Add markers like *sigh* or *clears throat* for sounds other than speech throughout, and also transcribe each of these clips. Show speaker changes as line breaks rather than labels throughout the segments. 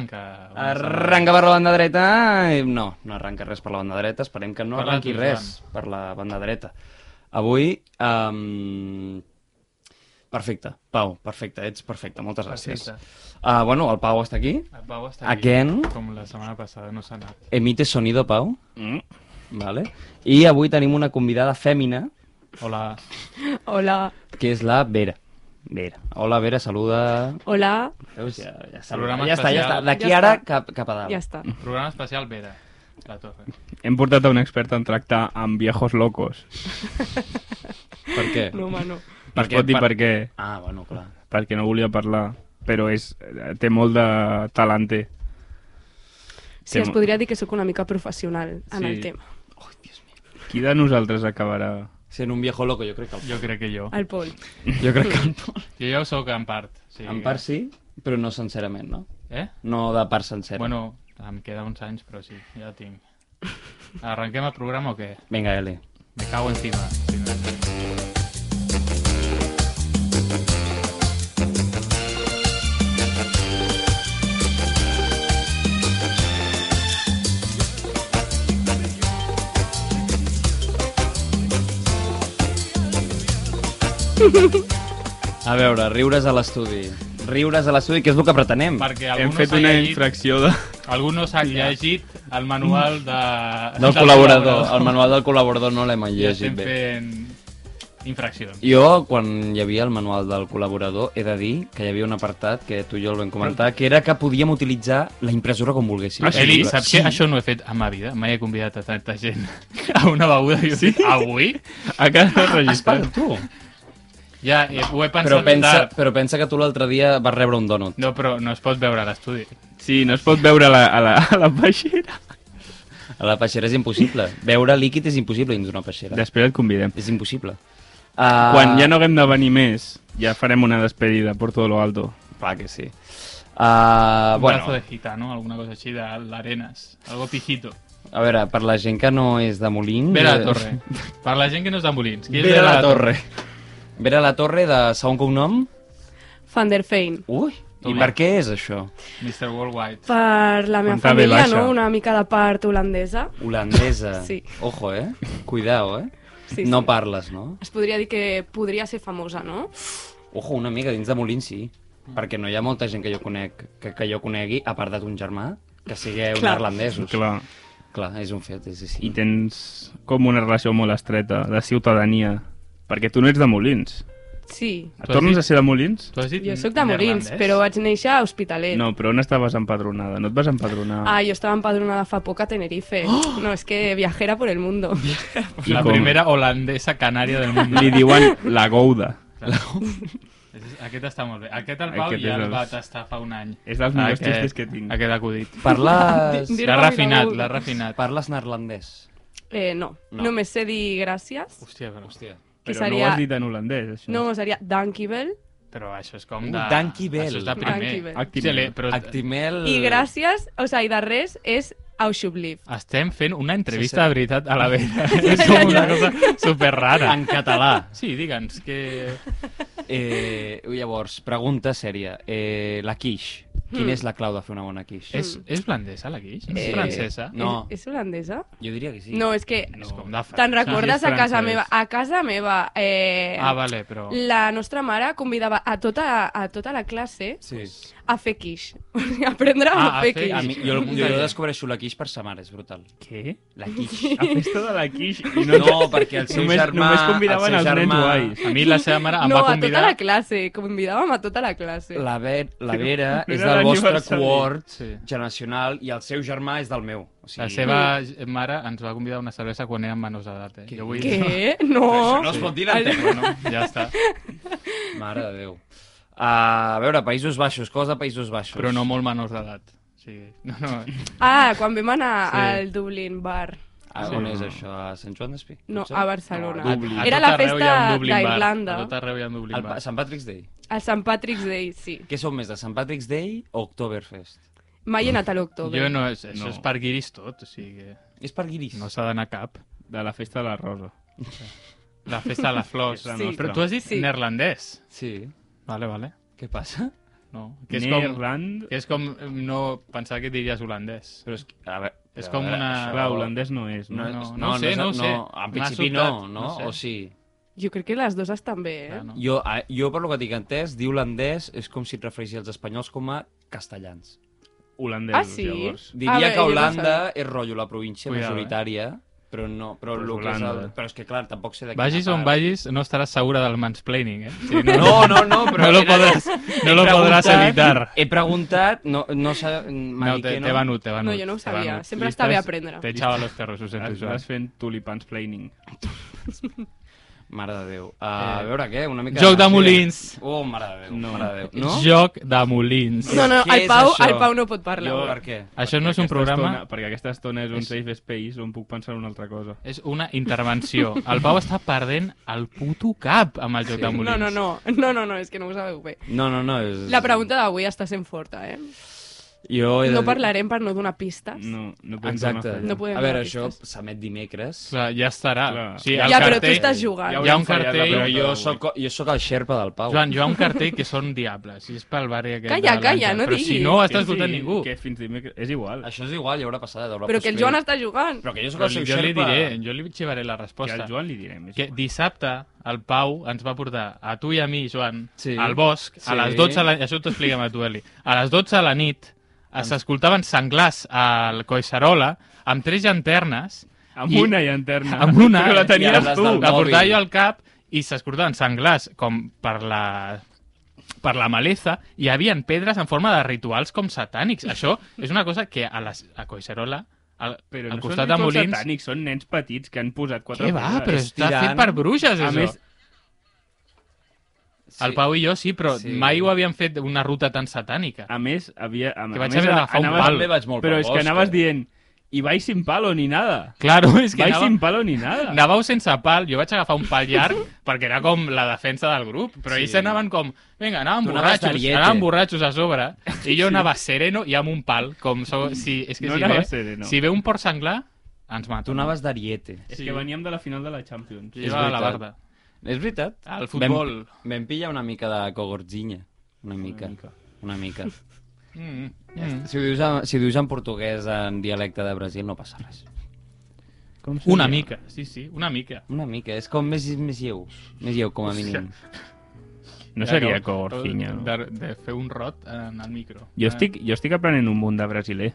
Arranca.
Arranca per la banda dreta... Eh, No, no arranca res per la banda dreta. Esperem que no
Parla
arranqui
tu,
res per la banda dreta. Avui... Um... Perfecte, Pau, perfecte, ets perfecte, moltes gràcies. Uh, bueno, el Pau està aquí.
Et Pau estar aquí,
Again.
com la setmana passada, no s'ha anat.
Emite sonido, Pau. Vale. I avui tenim una convidada fèmina,
Hola,
Hola,
que és la Vera. Vera. Hola, Vera, saluda.
hola,
Veus? Ja, ja, està,
Programa
ja està, ja
especial.
està. D'aquí
Ja
ara
està.
cap, cap a dalt.
ja està.
programa especial Vera, la torre.
Hem portat a un expert en tractar amb viejos locos.
Per què?
No, home, no.
No es
Perquè-
pot dir
per-
per què,
Ah, bueno, clar.
perquè no volia parlar, però és, té molt de talent.
Sí, es
Tema.
podria dir que sóc una mica professional en
Sí.
el tema.
Qui de nosaltres acabarà?
Sent un viejo loco, jo crec que el...
Jo crec que jo.
El Pol.
Jo crec *laughs* que el Pol.
Jo ja ho soc en part. Sí,
En part sí, però no sincerament, no?
Eh?
No de part sencera.
Bueno, em queda uns anys, però sí, ja tinc. Arrenquem el programa o què?
Vinga, Eli.
Me cago encima. Si no.
A veure, riures a l'estudi. Riures a l'estudi, que és el que pretenem.
Perquè
Hem
algú no
fet
s'ha
una
llegit,
infracció de... *laughs*
algú no s'ha llegit el manual de...
Del col·laborador. El manual del col·laborador no l'hem
I
llegit
estem
bé.
fent infraccions.
Jo, quan hi havia el manual del col·laborador, he de dir que hi havia un apartat, que tu i jo el vam comentar, que era que podíem utilitzar la impressora com volguéssim.
Ah, sí?
Eli, saps sí. que això no ho he fet a ma vida? Mai he convidat a tanta gent *laughs* a una beguda i ho he fet avui?
A
*laughs*
cada
Has pagat
registrat.
tu?
Ja, he, ho he pensat
Però pensa,
tard.
però pensa que tu l'altre dia vas rebre un donut.
No, però no es pot veure a l'estudi.
Sí, no es pot veure a la, a la, a la peixera.
A la peixera és impossible. Veure líquid és impossible dins d'una peixera.
Després et convidem.
És impossible. Uh...
Quan ja no haguem de venir més, ja farem una despedida por todo lo alto.
Clar que sí. Uh,
Un
bueno,
brazo de gitano, alguna cosa així de l'Arenas. Algo pijito.
a veure, per la gent que no és de Molins...
Vera la
eh,
Torre. Per la gent que no és de Molins. Qui és
Vera la Torre. Vera la Torre, de segon cognom...
Van der Fein.
Ui, i
Toma.
per què és això?
Mr. Worldwide.
Per la meva
Quanta ve
família,
baixa.
no? Una mica de part holandesa.
Holandesa.
*laughs* Sí.
Ojo, eh? Cuidao, eh?
Sí,
no
sí.
parles, no?
Es podria dir que podria ser famosa, no?
Ojo, una mica, dins de Molins sí. Perquè no hi ha molta gent que jo conec, que, que jo conegui, a part de ton germà, que sigueu
Clar.
neerlandesos.
Clar.
Clar, és un fet, és així.
I tens com una relació molt estreta de ciutadania, perquè tu no ets de Molins.
Sí.
Tu has
Tornes
dit-
a ser de Molins?
Tu has dit
Jo sóc de Molins,
neerlandès?
però vaig néixer a Hospitalet.
No, però on estaves empadronada? No et vas empadronar?
Ah, jo estava empadronada fa poc a Tenerife. No, és que viajera por el mundo.
I
La
com?
primera holandesa canària del món.
Li diuen la gouda.
Aquest està molt bé. Aquest el Pau
Aquest
ja
és
el
el-
va tastar fa un any.
És dels millors
Aquest-
xistes que tinc.
Aquest acudit.
Parles...
Di- di-
L'ha
Dir-me
refinat,
Miragut.
l'ha refinat.
Eh, Parles neerlandès.
Eh, no.
No.
no. Només sé dir gràcies,
Hòstia, però...
Hòstia.
que
Però no ho
seria...
has dit en holandès, això.
no, seria Dankibel.
Però això és com
Uh,
de...
Dankjewel.
Això és de primer.
Dankjewel.
Actimel.
Sí, però
Actimel...
I gràcies, o sigui, i de res, és Aushubliv.
estem fent una
Sí,
entrevista
sí.
de veritat a la
*laughs*
Vera. és com una cosa super rara.
En català.
Sí, digue'ns que...
Eh, llavors, pregunta sèria. Eh, la quiche. Quina
Hmm.
és la clau de fer una bona quiche?
És, és blandesa, la guix? És
Eh,
francesa?
no.
És, és holandesa?
Jo diria que sí.
No, és que...
És com de França.
Te'n recordes
Sí, és
a casa
francès.
meva? A casa meva... Eh,
Ah, vale, però...
La nostra mare convidava a tota, a tota la classe
Sí.
a fer quiche. *laughs* O sigui, a aprendre
Ah,
a
a
fer
fer-
quiche.
A mi, jo,
Un
jo
taller.
descobreixo la quiche per sa mare, és brutal.
Què?
La quiche.
A festa de la quiche. I *laughs* no,
No, perquè el seu
només,
germà...
Només convidaven
el seu
els nens
germà,
guais.
A mi la seva mare em
no,
va
a tota
convidar...
la classe. Convidàvem a tota la classe.
La, ver, la Vera
no
és
era
del vostre
l'aniversari.
cohort
Sí.
generacional i el seu germà és del meu. O sigui,
La seva mare ens va convidar a una cervesa quan érem menors d'edat, eh?
Què?
Jo vull...
Què? No.
No es pot dir
Sí,
l'antena.
Bueno, ja està.
Mare de Déu. Uh, a veure, Països Baixos, cosa de Països Baixos.
Però no molt menors d'edat. Sí. No, no.
Ah, quan vam anar
Sí.
al Dublin Bar.
Ah, on és això? A Sant Joan d'Espí?
No,
Potser?
a Barcelona.
No, a-
Dublin.
A
Era
tot
la
arreu hi ha un
festa
Dublin bar.
d'Irlanda.
A tot arreu hi ha un Dublin
Al
bar.
pa- Sant Patrick's Day.
Al Sant Patrick's Day, sí.
Què sou més, de Sant Patrick's Day o Oktoberfest?
Mai he anat a l'octubre.
Jo no, és- això
No.
és per guiris tot, o sigui que
És per guiris.
no s'ha d'anar cap.
De la festa de la rosa.
La festa de les flors.
És la
Sí. nostra.
Però tu has dit
Sí.
neerlandès.
Sí.
Vale, vale.
Què passa?
No. Que és com,
Neerland...
que és com mm, no pensar que diries holandès.
Però és, que- a veure,
És
a
com
veure,
una-
això-
Clar, holandès no és,
No,
no?
no,
no
no,
ho sé,
és-
no ho sé.
En
M'ha
principi no,
sobtat,
no?
no sé.
O sí.
Jo crec que les dues estan bé, eh?
Clar, Ah, no.
Jo, a, jo per lo que tinc entès, dir holandès és com si et referissis als espanyols com a castellans.
Holandès,
Ah, sí?
llavors.
Diria
veure,
que
jo no
Holanda és rotllo la província
Cuidado, eh?
majoritària, però no, però,
Però és
lo que és el,
Holanda.
però és que clar, tampoc sé de quina
Vagis on
part.
vagis, no estaràs segura del mansplaining, eh? Sí,
No, no, no, però
no lo
era-
podrás, no lo
He
podrás
preguntat-
evitar.
He preguntat, no, no s'ha...
No, te, te van ut, te van
No,
ut,
jo no ho
te
sabia.
van ut.
Sempre
Li
està bé
estàs-
aprendre.
Te echava los perros, ho
Doncs
sento, Joan.
Estàs fent tulipans planning.
Mare de Déu. Uh, a veure, què? Una mica...
Joc de molins.
Oh, mare de Déu,
No.
mare de Déu. No?
Joc de molins.
No, no,
Què
el
és
Pau,
això?
el Pau no pot parlar.
Jo, per què?
Això no és un
Aquesta
programa,
Estona, perquè aquesta estona és un
És-
safe space on puc pensar en una altra cosa.
és una intervenció. El Pau està perdent el puto cap amb el joc de molins.
No, no, no, no, no, no, és que no ho sabeu bé.
No, no, no. És...
La pregunta d'avui està sent forta, eh?
Jo he de
No
dir-
parlarem per no donar pistes.
No, no podem
Exacte.
tornar a fallar.
No podem
a veure,
donar
això
pistes.
s'emet dimecres.
Clar, ja estarà.
Clar.
O sigui,
Ja,
el
ja, però tu
cartell...
estàs jugant.
Hi ha un
haurem fallat la
cartell-
pregunta
Jo
d'avui.
sóc, jo sóc el xerpa del Pau.
Joan, hi ha un cartell que són diables. I és pel barri aquest
Calla,
de
calla,
l'Àngel.
no
Però si
diguis.
no ho està
Sí,
escoltant
sí,
ningú.
Que fins dimecres... És igual.
Això és igual, ja haurà passat. Haurà
Però que el
posteriori.
Joan està jugant.
Però que jo sóc
Però li,
el seu
jo li
xerpa.
diré, jo li xivaré la
Que
resposta.
al Joan li direm. és
Que
igual.
dissabte el Pau ens va portar a tu i a mi, Joan,
Sí.
sí. al bosc,
Sí.
a les 12 de la... Això t'ho expliquem a tu, Eli. A les 12 de la nit eh, s'escoltaven senglars al Coixarola amb tres llanternes
Amb
I-
una llanterna.
amb una,
Però la
I
tenies
amb eh? les
tu.
del
Ah, la
mòbil.
portava jo al cap i s'escoltaven senglars com per la per la maleza, hi havien pedres en forma de rituals com satànics. Això és una cosa que a, les, a Coixarola, al,
Però
al
no
costat
són
de
rituals
Molins...
satànics, són nens petits que han posat quatre
Què va?
pedres.
Però
És
està
tirant.
fet per bruixes,
A
això.
més,
Sí.
El Pau i jo sí, però
Sí.
sí. mai ho havíem fet una ruta tan satànica.
a més, havia... A,
Que
a
vaig
més,
haver d'agafar un
anaves-
pal.
També vaig molt
Però
pel
és
bosc,
que anaves
eh?
dient i vaig sin palo ni nada.
Claro, és que
Vaig
anava,
sin palo ni nada.
anàveu sense pal, jo vaig agafar un pal llarg perquè era com la defensa del grup, però
Sí.
sí. ells anaven com, vinga, anaven
Tu anaves
borratxos,
d'ariete.
anaven borratxos a sobre, i jo anava sereno i amb un pal, com so, si, és que
No
si,
anava
ve,
sereno.
si ve un porc senglar, ens mata.
Tu anaves d'ariete.
És
Sí.
que veníem de la final de la Champions.
Jo
És
llevava la
veritat.
barda.
És veritat.
Al futbol.
Vam, vam pillar una mica de cogorzinya. Una mica.
mica.
Una mica.
Mm, mm.
Si ho, dius en, si ho dius en portuguès, en dialecte de Brasil, no passa res.
Com seria?
Una mica, sí, sí, una mica.
Una mica. És com més, més lleu. Més lleu, com a mínim.
No
Ja
seria
acabo-
Cogorcinya, no?
De, de fer un rot en el micro. Eh,
Jo estic, jo estic aprenent un munt de brasiler,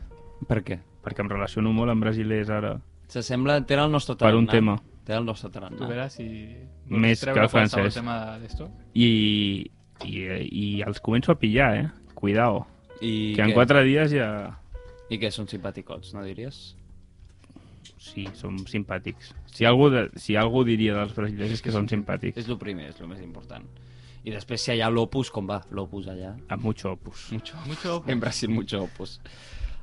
Per què?
perquè em relaciono molt amb brasilers ara.
S'assembla... Té el nostre
Per
tarannà.
un tema.
Té el nostre
Tu
tarannà.
veràs si... vols
Més
treure
que el
qualsevol
francès.
tema d'esto?
I, i, I els començo a pillar, eh? Cuidao,
I
I que en
què?
quatre dies ja...
I que són simpaticots, no diries?
Sí, som simpàtics. Si algú, de, si algú diria dels brasilers és que són simpàtics.
És el primer, és el més important. I després, si allà l'opus, com va? L'opus allà?
Amb mucho opus.
Mucho.
Mucho...
En Brasil, mucho opus.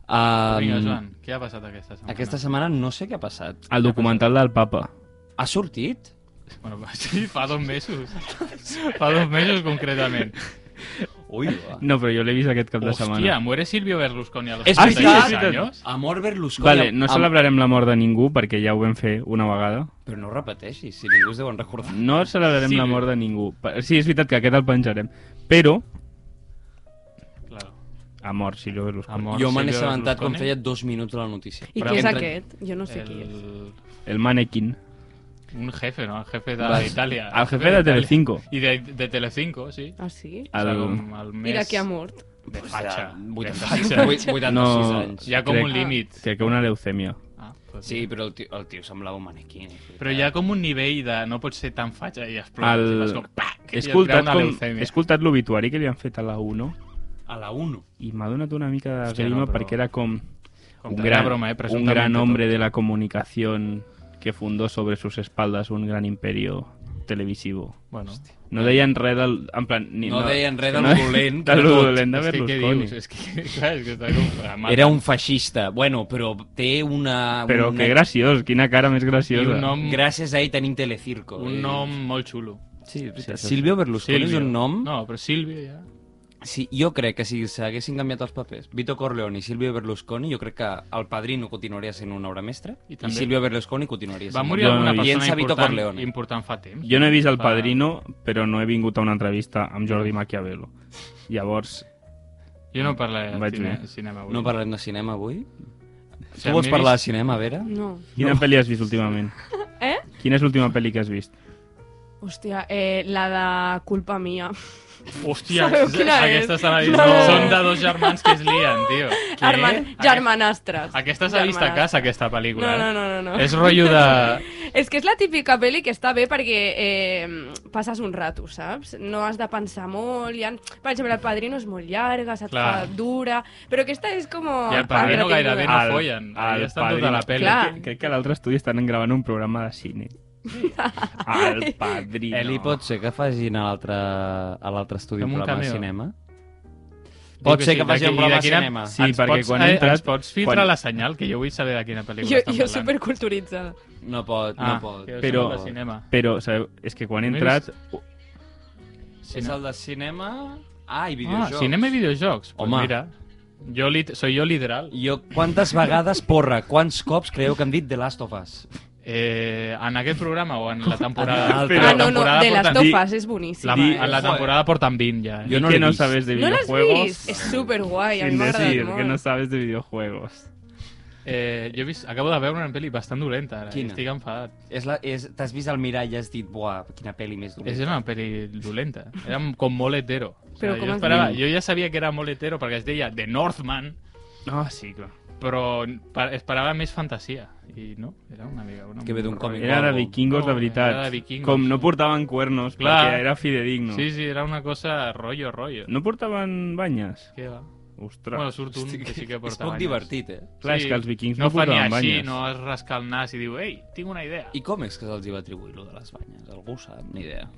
Um,
Vinga, Joan, què ha passat aquesta setmana?
Aquesta setmana no sé què ha passat.
El documental del papa.
Ha sortit?
Bueno, *laughs* sí, fa dos mesos. fa dos mesos, concretament.
Ui,
*laughs*
va.
No, però jo l'he vist aquest cap de
Hòstia,
setmana. Ah,
muere Silvio Berlusconi a los
És
36
veritat.
anys?
Amor Berlusconi.
Vale, no
Am-
celebrarem la mort de ningú perquè ja ho vam fer una vegada.
Però no ho repeteixis, si ningú es deuen recordar.
No celebrarem
Sí.
la mort de ningú. Pa- Sí, és veritat que aquest el penjarem. Però
Claro.
ha mort Silvio Berlusconi.
Amor.
jo me n'he
Silvio
assabentat quan
Berlusconi.
feia dos minuts de la notícia.
I
Però
qui és
entre-
aquest? Jo no sé qui és.
El...
El manequín.
Un jefe, no? El jefe
Va.
de Itàlia.
El jefe de Telecinco.
I de, de Telecinco, sí.
Ah,
O
sí?
sigui,
El-
com el més...
Mira qui ha mort.
De fatxa. De
86
fatxa.
No.
anys.
Hi ha com
Crec-
un límit.
Crec que una leucèmia.
Ah, pues
Sí, però el tio, el tio semblava un manequí.
Però hi ha com un nivell de no pots ser tan fatxa i explotar.
El...
El... Com, pac,
He
i et crea
escoltat,
una
com... He
leucèmia.
escoltat l'obituari que li han fet a la 1
A la 1.
i m'ha donat una mica de
Hòstia,
grima
no, però-
perquè era com,
Com
un
de-
gran,
era broma, eh?
un
Presumptamente
gran
tot.
hombre de la comunicación que fundó sobre sus espaldas un gran imperio televisivo.
Bueno,
No deien res del... En plan, ni,
No deien res del
no- *laughs*
dolent,
Del
però tot.
dolent de
és que què
Berlusconi.
dius? És que, *laughs* clar, és que està com... a mà.
Era un feixista. Bueno, però té una...
Però
una...
que graciós, quina cara més
I
graciosa.
un nom,
Gràcies a ell tenim Telecirco.
un
eh?
nom molt xulo.
Sí, és veritat.
Sí, sí,
Silvio Berlusconi és un nom...
No, però Silvio ja...
Sí, jo crec que si s'haguessin canviat els papers, Vito Corleone i Silvio Berlusconi, jo crec que el padrino continuaria sent una obra mestra
I
i,
també-
i Silvio Berlusconi continuaria
Va
sent
morir
no,
alguna
no, i
persona
Piensa Vito
important,
Corleone.
important fa temps.
Jo no he vist El
Fa-
Padrino, però no he vingut a una entrevista amb Jordi Maquiavelo. Llavors,
Jo no parlaré de
Vaig
cine,
bé.
cinema avui.
No parlem de cinema avui?
Si
Tu
em
vols
miris-
parlar de cinema, Vera?
No.
Quina pel·li has vist últimament?
*laughs* Eh?
Quina és l'última pel·li que has vist?
Hòstia, eh, la de culpa mia.
Hòstia,
Sabeu quina és?
aquestes s'han vist.
No.
Són de dos germans que es lien,
*laughs*
tio.
Herman,
Aquest-
germanastres.
Aquesta s'ha vist a
Germanastres.
casa, aquesta pel·lícula.
No, no,
eh?
no, no, no.
És rotllo de...
És que és la típica pel·li que està bé perquè eh, passes un rato, saps? No has de pensar molt, hi ha... Per exemple, El Padrino és molt llarga, se't
Clar.
fa dura... Però aquesta és com...
I El Padrino
entretinguda.
gairebé no follen. Allà estan tota la pel·li.
Clar.
Crec, crec que a l'altre estudi estan gravant un programa de
*laughs*
cine. El padrino.
Eli, pot ser que facin a l'altre a l'altre estudi
Fem
un
un
programa de
cameo.
cinema?
Diu
Pot ser
sí,
que faci
de
un
qui- i de
programa de
quina-
cinema.
Sí, perquè
pots,
quan he entrat-
ens pots filtrar
quan-
la senyal, que jo vull saber de quina pel·lícula
Jo,
estan
jo
parlant.
superculturitzada.
No pot,
Ah,
no pot.
que
Però-
Però... De cinema.
Però, sabeu, és que quan he
No he
entrat...
Sí,
És
no?
el de cinema... Ah, i
Ah,
videojocs.
cinema i videojocs. Pues
Home.
mira, jo lit... soy jo literal.
Jo, quantes vegades, porra, quants cops creieu que hem dit The Last of Us?
Eh, en aquest programa o en
*laughs*
la temporada...
Però-
ah,
la
no, no,
temporada
de les
porten-
tofas, és boníssima.
La,
Di-
en la
Joder.
temporada porten 20 ja. Eh?
Jo no
Jo no que
l'he
no
vist.
sabes de
no l'has
videojuegos...
vist? És superguai, a mi
Sin
m'ha agradat
decir
molt.
que no sabes de videojuegos.
Eh, jo he vist, acabo de veure una pel·li bastant dolenta. Ara.
Quina?
Estic enfadat.
És la- és- T'has vist al mirall i has dit, buah, quina pel·li més dolenta.
És una pel·li dolenta. Era com molt hetero. O sigui,
Però com
jo,
es
esperava,
diu?
jo ja sabia que era molt hetero perquè es deia The Northman,
Ah, sí, clar.
però pa- esperava més fantasia. I no, era una mica... Una
Que ve d'un còmic.
Era de
Congo.
vikingos, de
Congo,
veritat.
oh, era de vikingos.
Com no portaven cuernos,
Clar.
perquè era fidedigno.
Sí, sí, era una cosa rollo, rollo.
No portaven banyes?
Què va?
Ostres.
Bueno, surt un que sí que
*laughs* és
porta
poc
banyes.
divertit, eh?
Clar, és que els vikings
no
no
fa ni
portaven
així,
banyes.
no es rasca el nas i diu ei, tinc una idea.
I com és que se'ls hi va atribuir, lo de les banyes? Algú ho sap, ni idea.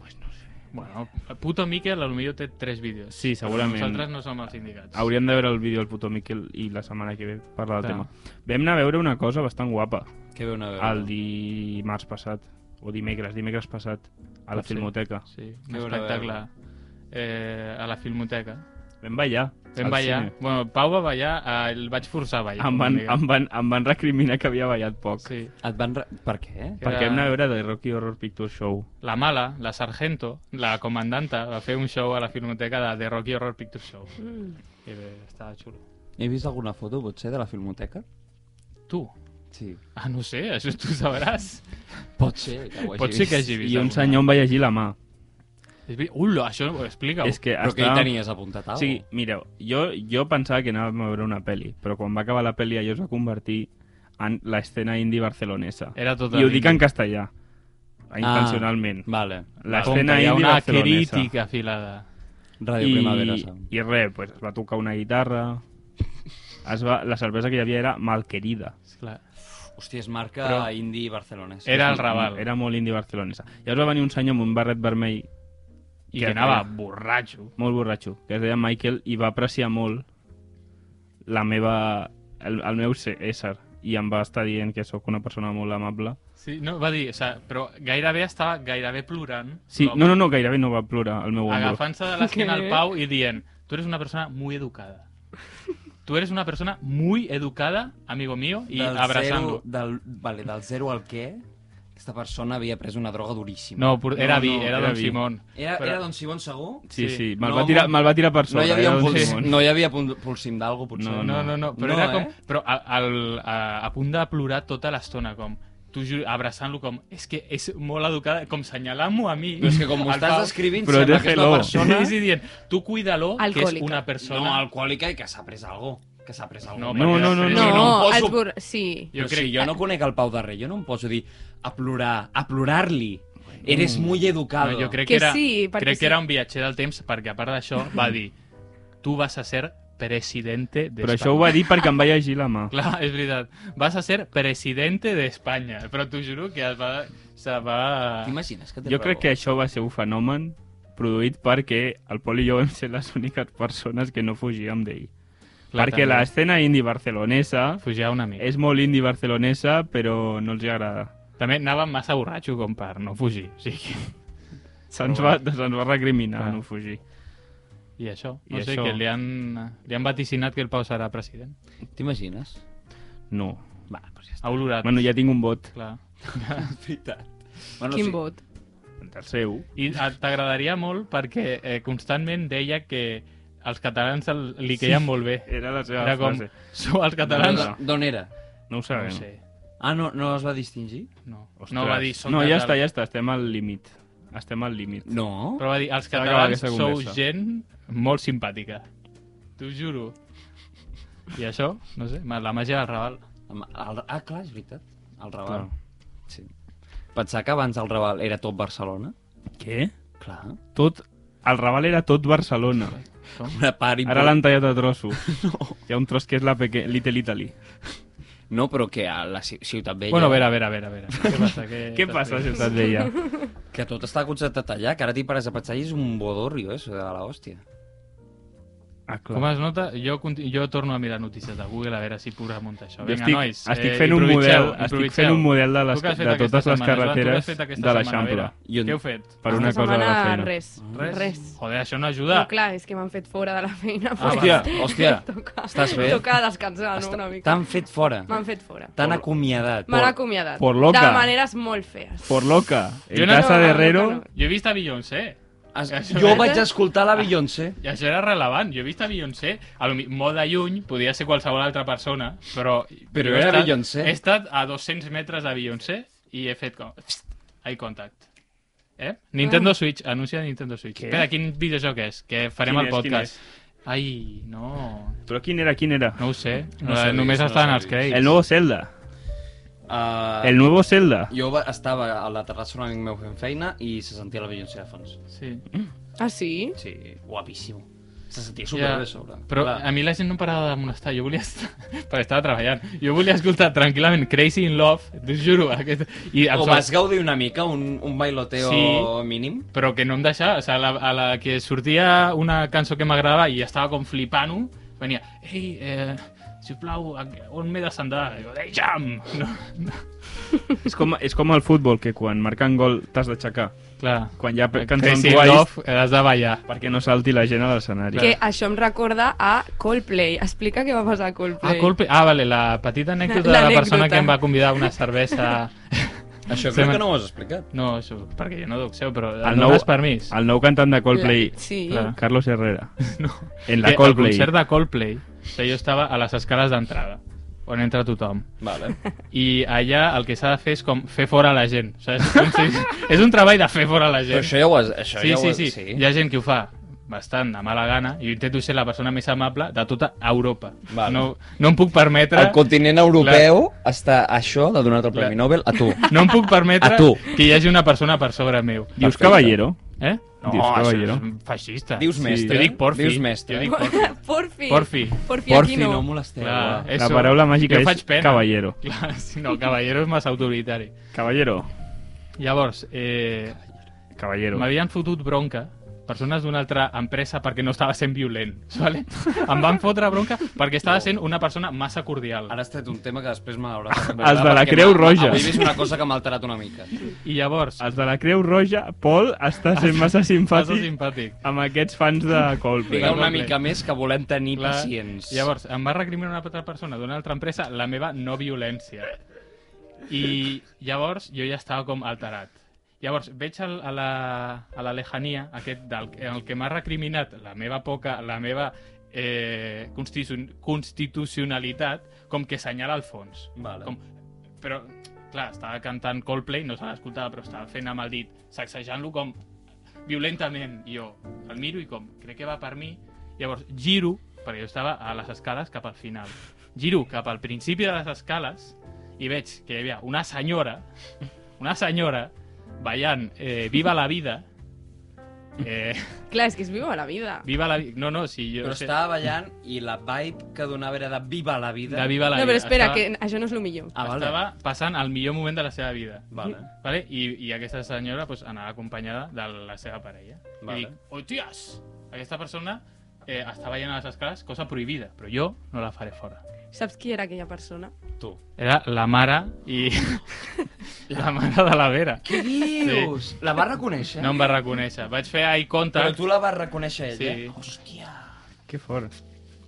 Bueno, puto Miquel, a lo millor té tres vídeos.
Sí, segurament.
Nosaltres no som els indicats.
Hauríem de veure el vídeo del puto Miquel i la setmana que ve parlar del
Clar.
tema. Vam anar a veure una cosa bastant guapa
Què veu una veu?
el dimarts passat, o dimecres, dimecres passat, a la
Pot ser.
Filmoteca.
Sí, un
Què veurà,
espectacle eh, a la Filmoteca.
Vam ballar.
Vam
al
ballar.
cine.
Bueno, Pau va ballar, eh, el vaig forçar a ballar.
Em van,
diguem.
em, van, em van recriminar que havia ballat poc.
Sí.
Et van... Re... Per què?
Era-
Perquè hem anat a veure The Rocky Horror Picture Show.
La mala, la sargento, la comandanta, va fer un show a la Filmoteca de The Rocky Horror Picture Show.
Mm.
I bé, estava xulo.
He vist alguna foto, potser, de la filmoteca?
Tu?
Sí.
Ah, no sé, això tu sabràs.
Pot ser que ho hagi
Pot ser que hagi vist.
I un
alguna.
senyor em va llegir la mà.
És vi- Ula, això ho explica.
És que
Però que hi
estava-
tenies apuntat
Ah.
alguna
O sigui, mireu, jo, jo pensava que anàvem a veure una pel·li, però quan va acabar la pel·li allò es va convertir en l'escena indie barcelonesa.
Era tot
I ho dic
indie.
en castellà,
Ah.
intencionalment.
Vale.
L'escena
hi ha
indie
una
barcelonesa.
crítica afilada.
Ràdio eh. I... Primavera
I,
Sound.
I res, pues, es va tocar una guitarra... Es va, la cervesa que hi havia era malquerida.
Esclar.
Hòstia, es marca Però...
Però-
indie barcelonès.
Era el Raval.
Era molt indie barcelonesa. Llavors va venir un senyor amb un barret vermell
I
Què
que anava
feia?
borratxo.
molt borratxo, que es deia Michael, i va apreciar molt la meva, el, el meu ser, ésser. I em va estar dient que sóc una persona molt amable.
Sí, no, va dir, o sea, però gairebé estava gairebé plorant.
Sí,
l'home,
no, no, no, gairebé no va plorar el meu ombro.
Agafant-se de l'esquena al
Què?
Pau i dient, tu eres una persona muy educada. Tu eres una persona muy educada, amigo mío, i abraçant-lo.
Zero, del, vale, del zero al què, aquesta persona havia pres una droga duríssima.
No, por- era
No,
vi,
no,
era,
era
Don
vi.
Simón.
Era,
Però-
era Don Simón segur?
Sí,
Sí.
sí, me'l
No,
va, tirar,
molt-
me va tirar per
No
sobre.
hi, havia
era
un
Don
puls,
Simón.
no hi havia pul- pulsim d'algú, potser.
No,
No, no, no, però
No,
era com...
eh?
Però a, al, a, a punt de plorar tota l'estona, com tu ju- abraçant-lo com, és que és molt educada, com senyalant-lo a mi.
Però és que com ho
al
estàs
Pau,
descrivint,
Però
sembla que és una
déjelo.
persona...
Sí, sí, dient, tu cuida-lo, que és
Alcohòlica.
una persona...
No, alcohòlica i que s'ha pres algo. Que s'ha pres algo.
No,
No, no, no,
No,
Jo
no em
poso-
es bur... Sí.
Jo
Jo
crec...
crec-
si jo no conec el Pau Darrer, jo no em poso a dir a plorar, a plorar-li. Eres muy educado.
No, jo crec
Que
que, era,
sí, perquè
crec
sí.
que era un viatger del temps, perquè a part
*clears throat*
d'això va dir tu vas a ser presidente d'Espanya.
Però això ho va dir perquè em va llegir la
*laughs*
mà.
Clar, és veritat. Vas a ser presidente d'Espanya. Però t'ho juro que es va... Se va...
T'imagines que té
Jo crec que això va ser un fenomen produït perquè el Pol i jo vam ser les *laughs* úniques persones que no fugíem d'ell.
Clar,
Perquè
també.
l'escena indie barcelonesa
Fugiar una mica.
és molt indie barcelonesa, però no els hi agrada.
També anava massa borratxo com per no fugir. O sigui,
Se'ns va,
Però
se'ns va recriminar
Clar.
no fugir.
*laughs* I això.
I
No I sé, això...
això.
que li han, li han vaticinat que el Pau serà president.
T'imagines?
No.
Va, doncs ja està.
Ha olorat.
Bueno, ja tinc un vot.
Clar.
*laughs* Veritat. Bueno,
Quin vot?
El seu.
I a- t'agradaria molt perquè eh, constantment deia que els catalans el, li queien molt bé.
Era la seva
Era com,
frase.
sou els catalans...
Catalans.
Doncs D'on era?
No ho sabem.
No sé,
Ah, no, no es va distingir?
no.
Ostres.
No va dir, som
No, ja està,
catalans.
ja està, estem al límit. Estem al límit.
No.
Però va dir, els
S'ha d'acabar
catalans
aquesta
sou
conversa.
gent molt simpàtica. T'ho juro. I això, no sé, ma- la màgia del Raval.
Amb El, ah, clar, és veritat. El Raval.
Clar.
Sí. Pensar que abans el Raval era tot Barcelona?
Què?
Clar.
Tot... El Raval era tot Barcelona.
Una part
Ara
important.
l'han tallat a
*laughs*
trossos. No. Hi ha un tros que és la peque... Little Italy.
No, però que a la ci- Ciutat Vella...
Bueno, a veure, a veure, a veure. A veure. Què passa? Què,
*laughs* Què passa,
*laughs*
Ciutat Vella?
Que tot està concentrat allà, que ara t'hi pares a pensar i és un bodorrio, eso, de la hòstia.
Ah,
Com es nota, jo, conti- jo torno a mirar notícies de Google a veure si puc remuntar això.
Jo
Vinga,
estic,
nois, eh,
estic fent un
improviseu,
model, estic fent
improviseu.
un model de, les,
Tu què has fet
de
aquesta
totes les
setmana, Joan? Tu què has
carreres
fet aquesta
de
setmana,
l'Eixample.
Vera?
Jo-
Què heu fet?
Per una
Aquesta
cosa de la
setmana,
feina.
Res. Res. res.
Joder, això no ajuda.
No, clar, és que m'han fet fora de la feina.
Ah,
perquè *laughs*
hòstia, hòstia.
Toca,
Estàs bé?
Toca descansar, Ah, no?
Està-
Una mica.
T'han fet fora.
M'han fet fora.
T'han acomiadat.
M'han acomiadat.
por loca.
De maneres molt fees.
Por loca,
Jo
en
no-
casa
no,
de
no,
Herrero...
no.
Jo he vist a Beyoncé.
Has,
Això
jo
és-
vaig escoltar la Beyoncé.
I això era relevant. Jo he vist a Beyoncé, a lo mi- molt de lluny, podia ser qualsevol altra persona, però...
Però
jo he
era
estat-
Beyoncé.
He estat a 200 metres de Beyoncé i he fet com... pst, Eye contact. Eh?
Ah.
Nintendo Switch, anuncia Nintendo Switch.
Què?
Espera, quin videojoc és? Que farem
Quin
el
és, quin
podcast. Ai, no...
Però quin era, quin era?
No ho sé.
No
No
sabis,
Només
no
estan els
sabis.
crèdits.
El nuevo Zelda.
Uh,
El nuevo Zelda.
*laughs*
Jo va, estava a la terrassa d'un amic meu fent feina i se sentia la Beyoncé de fons.
Sí.
Ah, sí?
Sí, guapísimo. Se sentia superbé a sobre.
Però
Clar.
a mi la gent no em parava de molestar, jo volia estar... *laughs* Perquè estava treballant. Jo volia escoltar tranquil·lament Crazy in Love, t'ho juro. Aquest... I
O
absor-
vas gaudir una mica, un, un bailoteo
Sí.
mínim?
però que no em deixava, o sea, a la, a la que sortia una cançó que m'agradava i estava com flipant-ho, venia, ei, eh, sisplau, a- on m'he de sentar? I jo, ei, jam! *laughs* No, no.
És com, és com el futbol, que quan marquen gol t'has d'aixecar.
Clar,
Quan hi ha pe- cançons
Crazy in
guais,
Love, eh, has de ballar.
perquè no salti la gent a l'escenari.
Que això em recorda a Coldplay. Explica què va passar a
Ah,
Coldplay.
culpe. ah, vale, la petita anècdota de la
l'anècdota.
persona que em va convidar a una cervesa...
Això
Se
crec
me-
que no ho has explicat.
*laughs* No, això, perquè jo no doxeo, però
El
el no
nou-
és permís.
El nou cantant de Coldplay,
La- sí.
clar, Carlos Herrera.
*laughs* No.
En la
Que al
Coldplay.
concert de Coldplay, o sigui, jo estava a les escales d'entrada, on entra tothom. *laughs*
Vale.
i allà el que s'ha de fer és com fer fora la gent, saps? Com si...
*laughs*
és un treball de fer fora la
Però
gent.
això ja ho has... Això
sí,
ja ho
sí,
has...
sí, Hi ha gent que ho fa bastant de mala gana i jo intento ser la persona més amable de tota Europa.
Val.
No, no em puc permetre...
El continent europeu està a això de donar el Premi
Clar.
Nobel a
*laughs*
tu.
No em puc permetre
*laughs* A tu.
que hi hagi una persona per sobre meu.
Dius
Perfecte.
Caballero?
Eh?
No, Dius Caballero.
és fascista.
Dius mestre.
Jo dic porfi.
Dius mestre.
Jo dic porfi. *laughs*
*laughs* Porfi.
Porfi.
Porfi,
Porfi,
aquí
no,
no.
no molesteu. eh.
Clar, eh.
va.
eso.
La paraula màgica
Jo
és
faig pena.
caballero.
Clar, si no, caballero és massa autoritari.
Caballero.
Llavors, eh,
Caballero.
M'havien fotut bronca persones d'una altra empresa perquè no estava sent violent, *laughs* ¿vale? Em van fotre bronca perquè estava sent una persona massa cordial.
Ara has tret un tema que després
*laughs*
m'hauràs de
Els de la
perquè
Creu
m'ha-
Roja.
Avui he vist una cosa que m'ha alterat una mica.
I llavors,
Els de la Creu Roja, Pol, està
*laughs*
sent massa
massa
simpàtic
simpàtic.
amb aquests fans de Coldplay.
Vinga, una
Coldplay.
mica més que volem tenir
Clar,
pacients.
Llavors, em va recriminar una altra persona d'una altra empresa la meva no violència. I llavors jo ja estava com alterat. Llavors, veig al, a, la, a la lejania aquest del, el que m'ha recriminat la meva poca, la meva eh, constitu- constitucionalitat, com que senyala al fons.
Vale.
Com, però, clar, estava cantant Coldplay, no se l'escoltava, però estava fent amb el dit, sacsejant-lo com violentament. I jo el miro i com, crec que va per mi. Llavors giro, perquè jo estava a les escales cap al final. Giro cap al principi de les escales i veig que hi havia una senyora, una senyora, ballant eh, Viva la vida, eh,
Clar, és que es viu a la vida.
Viva la vida... No, no, si jo...
Però
sé-
estava ballant i la vibe que donava era de viva la vida.
De Viva la
No,
vida.
però espera,
estava,
que això no és el millor.
Ah, vale.
Estava passant el millor moment de la seva vida.
Vale.
Vale? I, I aquesta senyora pues, anava acompanyada de la seva parella. I
Vale.
dic, hòsties, aquesta persona eh, està veient a les escales cosa prohibida, però jo no la faré fora.
Saps qui era aquella persona?
Tu.
Era la mare i...
*laughs*
la mare de la Vera.
Què dius? La vas reconèixer?
No em va reconèixer. Vaig fer eye
Però
contact,
tu la vas reconèixer ella?
Sí.
Hòstia,
Que fort.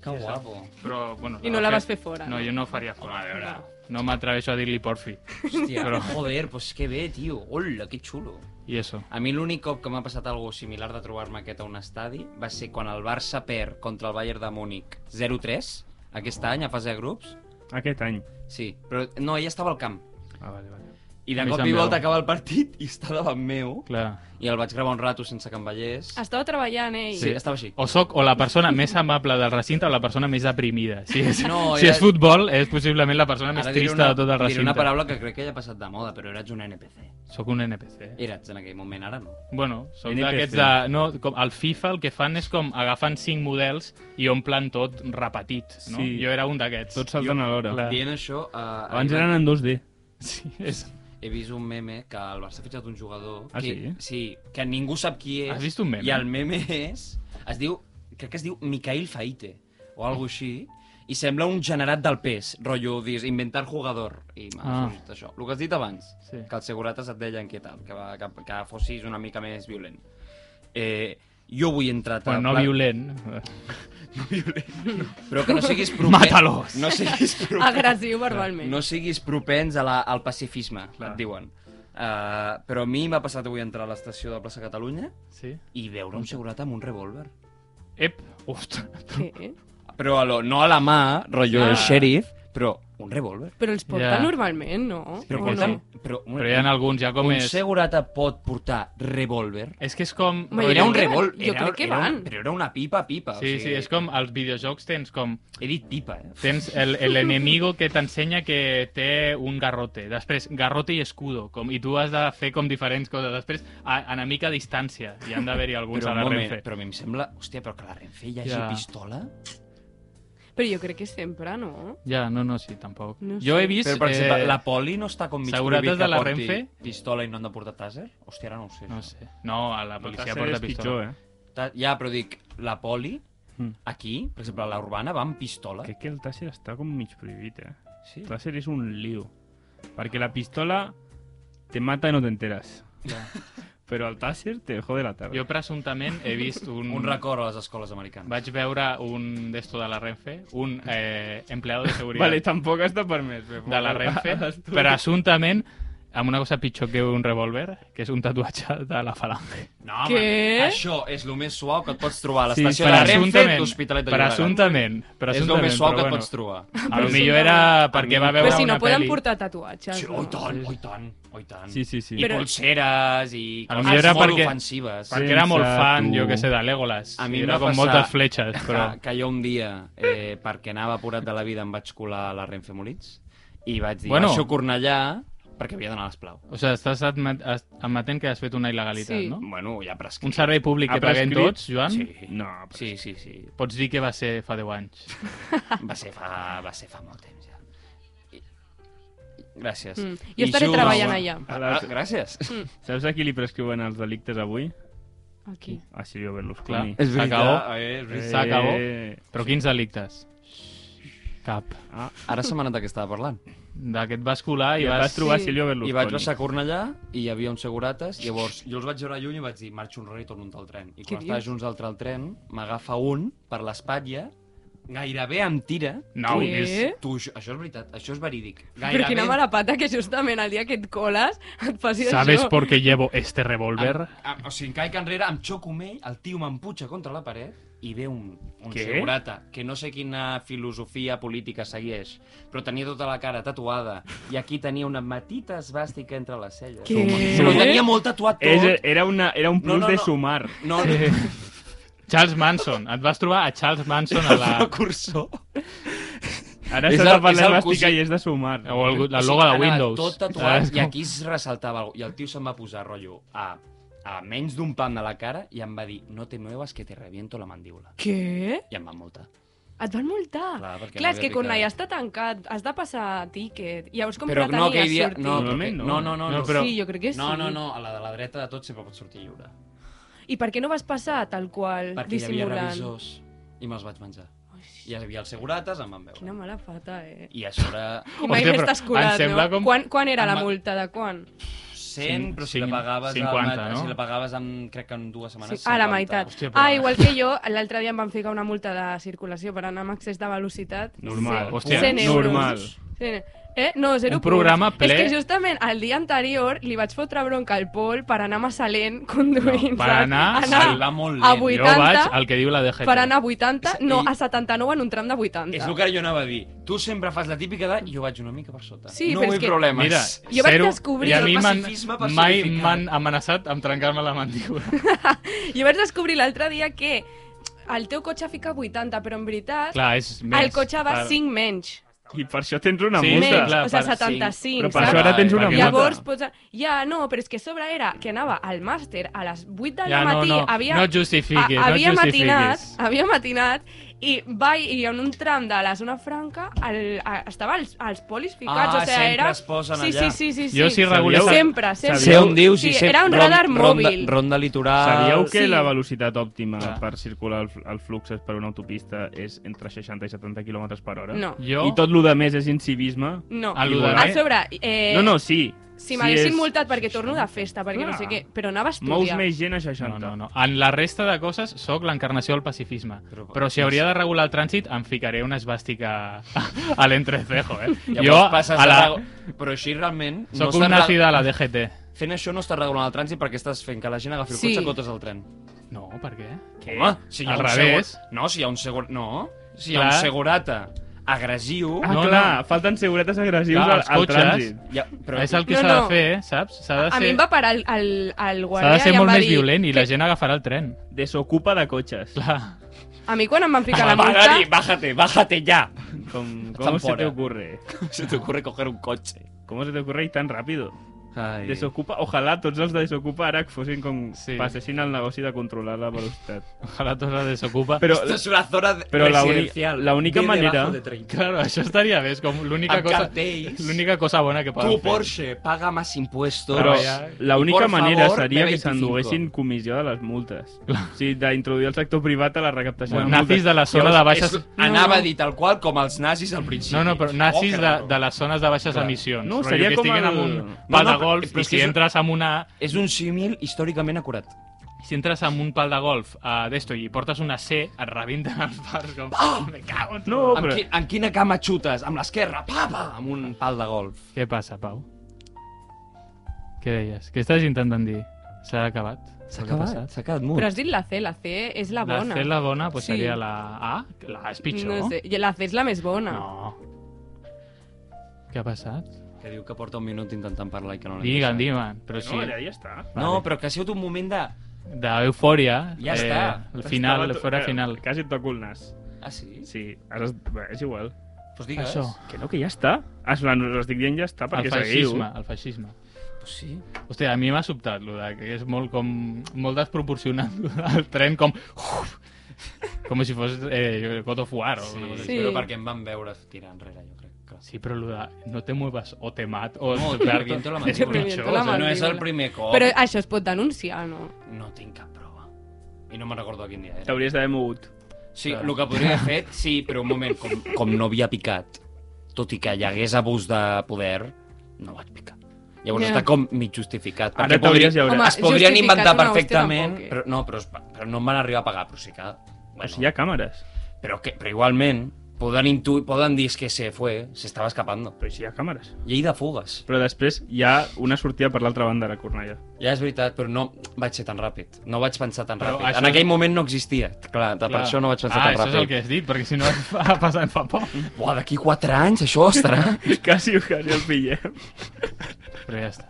que guapo.
però... Bueno,
I no la vas fer fora,
No,
no?
jo no ho faria fora. A veure... No m'atreveixo a dir-li porfi.
Hòstia,
Però-
joder, pues que bé, tio. Hola, que xulo.
I això.
A mi l'únic cop que m'ha passat alguna similar de trobar-me aquest a un estadi va ser quan el Barça perd contra el Bayern de Múnich 0-3, aquest any, a fase de grups.
Aquest any.
Sí, però no, ella estava al camp.
Ah, vale, vale.
I de
Més
cop i volta
enllà.
acaba el partit i està davant meu.
Clar.
I el vaig gravar un rato sense que em veiés.
Estava treballant, ell.
Sí, estava així.
O soc o la persona més amable del recinte o la persona més deprimida. Si és,
No,
no, si
ja-
és futbol, és possiblement la persona més
Ara diré
trista
una,
de tot el
diré
recinte.
una paraula que crec que ja ha passat de moda, però eres un NPC.
Soc un NPC.
Eres en aquell moment, ara no.
Bueno, són
NPC.
d'aquests de... No, com el FIFA el que fan és com agafen cinc models i omplen tot repetit, no?
Sí.
Jo era un d'aquests.
Tots salten
Jo-
a l'hora.
Clar.
Dient això, eh,
Abans
ahir
eren en 2D.
*laughs* Sí, és...
he vist un meme que el Barça ha fitxat un jugador
Ah,
que, sí? que ningú sap qui és.
Has vist un meme?
I el meme és... Es diu... Crec que es diu Mikhail Faite o algo així. I sembla un generat del PES. Rotllo, dius, inventar jugador. I m'ha
Ah.
sorgit això. El que has dit abans.
Sí.
Que els segurates et deien què tal. Que, va, que, que fossis una mica més violent. Eh, jo vull entrar... a
Bueno, no
pla- *laughs*
violent.
Però que no siguis
*laughs*
propens...
Mata-los!
No siguis propens...
Agressiu verbalment.
No siguis propens a la, al pacifisme, Clar. et diuen. Uh, però a mi m'ha passat avui entrar a l'estació de plaça Catalunya
Sí?
i veure un segurat amb un revòlver.
Ep! Ostres!
Sí.
Però a lo, no a la mà, rotllo
Ah.
el xèrif, però un revòlver.
Però els porta
Ja.
normalment, no?
Però,
O
porten,
no?
però, un,
Però hi ha alguns ja com
un
és...
segurata pot portar revòlver?
És que és com...
Home,
Era un
crec que-
revòlver.
jo
era-
crec que
era un-
van.
Però era una pipa, pipa.
Sí,
o sigui,
sí, és com als videojocs tens com...
He dit pipa, eh?
Tens el- el enemigo que t'ensenya que té un garrote. Després, garrote i escudo. Com, I tu has de fer com diferents coses. Després, a, enemic a distància. Hi han
*laughs*
d'haver-hi alguns
Però,
a
un
la
moment,
Renfe.
però a mi em sembla... Hòstia, però que a la Renfe hi hagi
Ja.
pistola?
Però jo crec que sempre, no?
Ja, no, no, sí, tampoc.
No
jo
sé.
he vist...
Però, per exemple,
eh,
la poli no està com mig
segurates
prohibit
de
que
la
porti
Renfe?
pistola i no han de portar taser? Hòstia, ara no ho sé.
No
això.
sé. No, a la policia
Potser
porta
és
pistola.
pitjor, eh?
Ta- Ja, però dic, la poli,
Mm.
aquí, per exemple, a la urbana, va amb pistola.
Crec que el Taser està com mig prohibit, eh?
Sí.
El Taser és un lío. Perquè la pistola te mata i no t'enteres. *laughs* Però el Taser te jode la tarda.
Jo presumptament he
*laughs*
vist un...
eh. Un record a les escoles americanes.
Mm. Vaig veure un d'esto de la Renfe, un eh, empleado de seguretat
Vale, tampoc està permès. però-
de la
*laughs*
Renfe,
Estudi.
presumptament amb una cosa pitjor que un revòlver, que és un tatuatge de la falange.
No, home,
Què?
això és el més suau que et pots trobar a
Sí,
l'estació de la Renfe
presumptament,
d'Hospitalet de Llobregat.
presumptament,
És
presumptament,
el més suau
però
que et
bueno, Ah.
pots trobar.
A lo millor era perquè va
Però
veure
si no
una
poden
pel·li.
portar tatuatges.
Sí, oh,
no?
oi tant, oi tant, oi tant.
Sí, sí, sí.
I
Però-
polseres i
A lo
coses
millor era
molt
perquè-
ofensives.
Perquè era molt
Sense
fan,
tu.
jo que sé, de Legolas.
A mi
I
em
era com
va passar
moltes fletxes,
*laughs*
però...
que, que jo un dia, eh, perquè anava apurat de la vida, em vaig colar a la Renfe Molins i vaig dir,
Bueno.
bueno. baixo a Cornellà perquè havia d'anar a l'esplau.
O sigui, estàs admet as- admetent que has fet una il·legalitat,
Sí.
no?
Bueno, ja prescrit.
Un servei públic
Ha
que paguem
prescrit?
tots, Joan?
Sí.
No, però...
Sí, sí, sí.
Pots dir que va ser fa 10 anys.
Va ser fa, va ser fa molt temps, ja. I- Gràcies.
Mm. Jo estaré
jugo-
treballant
Ah,
allà.
Ah, gràcies.
Saps a qui li prescriuen els delictes avui?
Aquí.
A Silvio
Clar,
Berlusconi.
És veritat,
S'acabó.
eh, és veritat.
S'acabó.
Eh,
Però quins delictes? Cap.
Ah,
Ara se m'ha anat que estava parlant.
D'aquest vas colar Ah, i
I et vas
vas...
trobar
Sí.
Silvio Berlusconi.
I vaig baixar a Cornellà i hi havia uns segurates. Llavors, jo els vaig veure lluny i vaig dir, marxo enrere i torno un al tren. I
Què
quan estava
dius?
junts altre al tren, m'agafa un per l'espatlla, gairebé em tira.
No,
Què?
és...
Tu, això, això és veritat, això és verídic.
Però quina mala pata que justament el dia que et coles et faci
¿Sabes
això.
por qué llevo este revólver?
Em, em, o sigui, em caic enrere, em xoco amb ell, el tio m'emputxa contra la paret i ve un, un
Què?
segurata que no sé quina filosofia política segueix, però tenia tota la cara tatuada i aquí tenia una matita esbàstica entre les celles.
Què?
Però ho tenia molt tatuat tot.
És, era, una, era un plus
No, no,
de
no.
sumar. *laughs*
No, no,
Charles Manson. Et vas trobar a Charles Manson a
*laughs*
la...
cursor.
Ara
És
s'ha
el-
de parlar
és el
elàstica
cosí-
i és de sumar.
o el, la logo de Windows.
Tot
Saps
tatuat,
com?
i aquí es ressaltava alguna I el tio se'm va posar, rotllo, a, a menys d'un pam de la cara i em va dir, no te muevas que te reviento la mandíbula.
Què?
I em va multar.
Et van multar?
Clar, perquè
Clar és
m'havia
que quan
picat.
ja està tancat, has de passar tíquet. Llavors com
Però no, aquell
pretenies
dia...
sortir?
No, perquè,
Normalment no.
no, no, no.
No,
no,
però-
Sí, jo crec que sí.
No, no, no, a la de la dreta de tot sempre pot sortir lliure.
I per què no vas passar tal qual,
Perquè hi havia
dissimulant?
revisors i me'ls vaig menjar. Hi havia els segurates, em van veure.
Quina mala fata, eh?
I a sobre...
I mai
Hòstia, però
n'estàs
em
curat,
sembla
no?
com-
Quan, quan era la
Em va-
multa? De quan?
100, però si
Cinc-
la pagaves... al
50,
mat-
no?
Si la pagaves en, crec que en dues
Sí,
setmanes...
a la
50.
meitat.
Hòstia, però-
ah, igual que jo, l'altre dia em van ficar una multa de circulació per anar amb excés de velocitat.
Normal.
Hòstia,
Cent euros.
normal.
Sí, Eh? No, zero
Un programa
punts.
ple-
És que justament el dia anterior li vaig fotre bronca al Pol per anar massa lent conduint.
No, per
saps?
anar
anar
al-
va molt
a
lent.
vuit.
Jo
80,
vaig al que diu la DGT.
per anar a 80, no,
I-
a 79 en un tram de 80.
És el que jo anava a dir. Tu sempre fas la típica de jo vaig una mica per sota.
Sí,
no
però és
vull
que-
problemes.
Mira,
Jo vaig
zero,
descobrir
i a
el
mi m'han-
pacifisme personificat.
mai m'han amenaçat amb trencar-me la mandíbula.
*laughs* Jo vaig descobrir l'altre dia que el teu cotxe fica 80, però en veritat
Clar, és més.
el cotxe va 5 menys.
I per això tens una
Sí,
multa.
menys,
clar,
o sigui,
per-
75,
Però per
saps?
això ara tens una
Perquè
multa.
Llavors, pots... ja, no, però és que a sobre era que anava al màster a les 8 del
Ja, no,
matí,
no,
havia,
no et justifiquis,
a, havia
no et justifiquis.
matinat, havia matinat, i vaig, i en un tram de la zona franca el, a, estava els, els polis ficats,
Ah,
o sigui,
sempre
era...
es posen
sí,
allà.
Sí, sí, sí, sí.
Jo si regulés-
Sempre, sempre.
Sé on dius i
sí,
sé...
Era un
ron-
radar
ronda-
mòbil.
Ronda litoral...
Sabíeu
sí.
que la velocitat òptima
Clar.
per circular el, el flux per una autopista és entre 60 i 70 km per hora?
No,
Jo,
I tot lo de més és incivisme?
no.
a lo de...
A sobre, eh,
No, no, sí.
si m'haguessin
és-
multat perquè torno de festa, perquè no
Clar.
sé què, però anava a
Mous
estudiar.
més gent a
No,
60.
no, no. En la resta de coses sóc l'encarnació del pacifisme.
Però-
Però, si hauria de regular el trànsit, em ficaré una esbàstica *laughs* a l'entrecejo, eh?
Jo,
Jo,
passes
a la...
de... Però així realment... No
Sóc
estàs
un nazi
re-
de la DGT.
Fent això no estàs regulant el trànsit perquè estàs fent que la gent agafi el
Sí.
cotxe en comptes del tren.
No, per què?
Què? Home, si hi ha
Al
un
revés.
Segur... No, si hi ha un segur... No. Si hi ha
Clar.
un segurata agressiu...
Ah,
No,
no, clar, no. falten seguretes agressius
Clar,
al,
els
al
cotxes.
trànsit.
Ja, però...
És el que
No,
s'ha
no.
de fer, eh? saps? S'ha de
A mi
ser,
em va parar el, el, el
s'ha
guàrdia
de ser
i em
molt
va
més
dir...
violent i la gent agafarà el tren.
Desocupa de cotxes.
Clar.
A mi quan em van ficar la multa...
Bájate, bájate, bájate ya.
Com,
Tan
com se te
fora.
ocurre?
*laughs* Se te ocurre coger un cotxe.
Com se te ocurre i tan ràpid?
Ai.
Desocupa, ojalà tots els de Desocupa ara que fossin com
Sí.
sí. passessin al negoci de controlar la velocitat.
Ojalà tot la desocupa.
Però,
Esto es una zona
Però la uni-
residencial.
la única
Ve debajo
manera-
De 30.
Claro, això estaria bé, és com l'única
Amb
cosa...
cartells.
L'única cosa bona que poden
Tu,
fer.
Porsche, paga más impuestos.
però
ja-
la
I,
única
por
manera
favor,
seria que
B25.
s'enduguessin comissió de les multes. O sigui, d'introduir el sector privat a la recaptació
Bueno,
de multes.
nazis de la zona de baixes...
És, anava a dir tal qual com els nazis al principi.
No, no, però nazis
Oh, que
de,
raro.
de les zones de baixes emissions.
No,
Rotllo
seria
que
com
estiguin
el-
amb un
No,
pal
no,
de golf
però és
i
que
si
és-
entres amb una...
És un símil històricament acurat.
Si entres amb un pal de golf a d'esto i portes una C, et rebenten els pals com... Oh, me cago en...
Ah, No,
Ah! Amb,
però...
qui, amb quina cama xutes? Amb l'esquerra, papa! Amb un pal de golf.
Què passa, Pau? Què deies? Què estàs intentant dir? S'ha acabat?
S'ha
El que ha
acabat,
passat?
s'ha quedat mut.
Però has dit la C, la C és la
La
bona.
C, la bona, doncs
Sí.
seria la A. La A és pitjor.
No sé, i la C és la més bona.
No. Què ha passat?
Que diu que porta un minut intentant parlar i que no l'hem
Digue'm,
deixat.
digue'm. Però
No, allà
sí,
ja està.
No, però que ha sigut un moment de...
d'eufòria.
Ja està.
El final, l'eufòria
Estava to- eh,
final.
Quasi et toco el nas.
Ah, sí?
Sí, ara és, bé, és igual.
Pues digues.
Això.
Que no, que ja està. Es, la, estic dient ja està
El
perquè seguiu.
feixisme, el feixisme.
Pues sí.
Hòstia, a mi m'ha sobtat, lo de, que és molt com... molt desproporcionat *laughs* el tren, com... Uf, com si fos eh, jo crec, God of War o
Sí,
una cosa
sí.
així.
Però perquè em van veure tirar enrere, jo crec. Que...
Sí, però lo de no te muevas o te mat o...
No,
te
te reviento la
és pitjor,
mandíbula.
Te reviento la
o sigui,
no és el
mandíbula.
primer cop.
Però ah, això es pot denunciar, no?
No tinc cap prova. I no me'n recordo a quin dia era.
T'hauries d'haver mogut.
Sí, el que podria haver fet, sí, però un moment, com, com no havia picat, tot i que hi hagués abús de poder, no vaig picar. Llavors
Ja.
yeah. està com mig justificat.
Ara
perquè
t'hauries
podri-
d'haver...
Home,
Es podrien
Ah, Justificat
inventar
una hòstia
perfectament,
tampoc, eh?
però, no, però, es- però no em van arribar a pagar, però sí que... Bueno,
O sigui, hi ha càmeres.
però, que, però igualment, poden, intu poden dir "Es que se fue, se estaba escapando.
Però si hi ha càmeres.
Llei de fugues.
Però després hi ha una sortida per l'altra banda de la Cornellà.
Ja és veritat, però no vaig ser tan ràpid. No vaig pensar tan
Però
ràpid.
això-
En aquell moment no existia. Clar, de, per
clar.
això no vaig pensar
ah,
tan
Ah, això
ràpid.
és el que has dit, perquè si no ha passat fa poc.
Buah, d'aquí 4 anys això estarà...
*laughs*
*laughs*
Quasi, quasi el pillem.
Però ja està.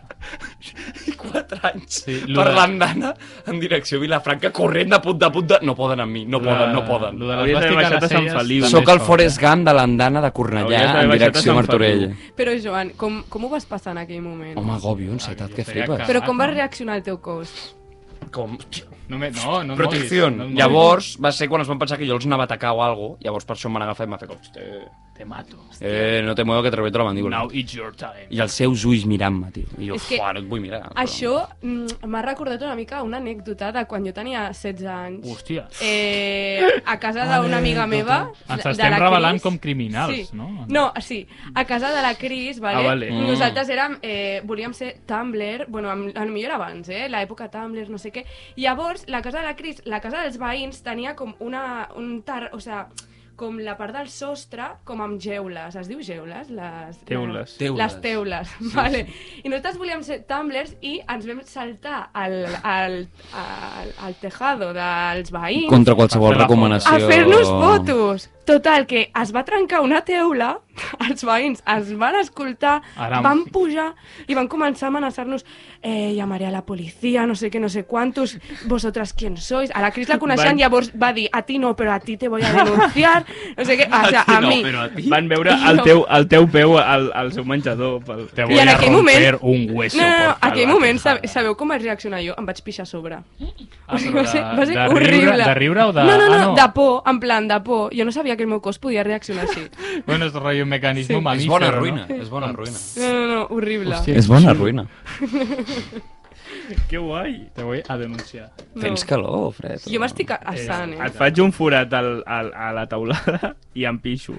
4 anys sí,
Sí, lo
per
de-
l'andana en direcció Vilafranca, corrent de punt de punt de... No poden amb mi, no poden, no poden.
Lo de
Hauries
les
d'haver
plàstiques a
baixat a
les
Sant
celles... també
Feliu.
eh?
Soc
és
el
com-
Forrest Gump de l'andana de Cornellà
Hauries d'haver
en
baixat a
direcció
Sant
Martorell.
Però, Joan, com, com ho vas passar en aquell moment?
Home, agòbio, ansietat, que
Estaria
flipes.
cagat,
Però com vas
no?
reaccionar el teu cos?
Com...
No, me, no, no et
Protecció.
moguis, no et moguis.
Llavors va ser quan es van pensar que jo els anava a atacar o algo, llavors per això em van agafar i em va fer com... "Eh,
Te mato.
Eh, no te muevo que te reviento la mandíbula.
Now it's your time.
I els seus ulls mirant-me, tio. I jo,
És que-
fuà, no et vull mirar. Però...
Això mm, m'ha recordat una mica una anècdota de quan jo tenia 16 anys.
Hòstia.
Eh, a casa d'una amiga meva...
Ens
de
estem
la
revelant
Cris.
com criminals,
sí.
no?
No, sí. A casa de la Cris, vale?
Ah, vale.
Mm.
nosaltres érem, eh, volíem ser Tumblr, bueno, amb, a lo millor abans, eh? L'època Tumblr, no sé què. Llavors, la casa de la Cris, la casa dels veïns, tenia com una, un tar... O sea, com la part del sostre, com amb geules. Es diu geules? Les...
Teules.
Les, les teules, *laughs* vale. I nosaltres volíem ser tumblers i ens vam saltar al, al, al, al tejado dels veïns
Contra qualsevol
Per fer la
recomanació...
a fer-nos fotos. Total, que es va trencar una teula, *laughs* els veïns es van escoltar,
Aram.
van pujar i van començar a amenaçar-nos eh, llamaré a la policia, no sé què, no sé quantos, vosaltres quién sois. A la Cris la coneixen,
Van-
llavors va dir, a ti no, però a ti te voy *laughs* a denunciar, no sé què, o sigui, a mi.
Van veure el teu, el teu peu al, al seu menjador. Pel...
Te
I
voy
en
a
aquell
romper un hueso.
No, no, no,
por
aquell
salvar
moment,
tu
sabe-
jada.
sabeu com vaig reaccionar jo? Em vaig pixar a sobre. *laughs*
Ah,
O sigui,
però
va ser,
de-
va ser
de riure-
horrible.
de riure o de-
No, no, no,
ah, no.
de por, en plan, de por. Jo no sabia que el meu cos podia reaccionar així.
Bueno, és rotllo un mecanisme
Sí.
sí.
És
mamífero,
bona
no?
ruïna, és bona ruïna.
No, no, no, horrible.
Hòstia,
És bona ruïna.
Que guai!
Te voy a denunciar.
No.
Tens calor, Fred.
Jo m'estic assant, eh?
Et faig un forat al, al, a la taulada i em pixo.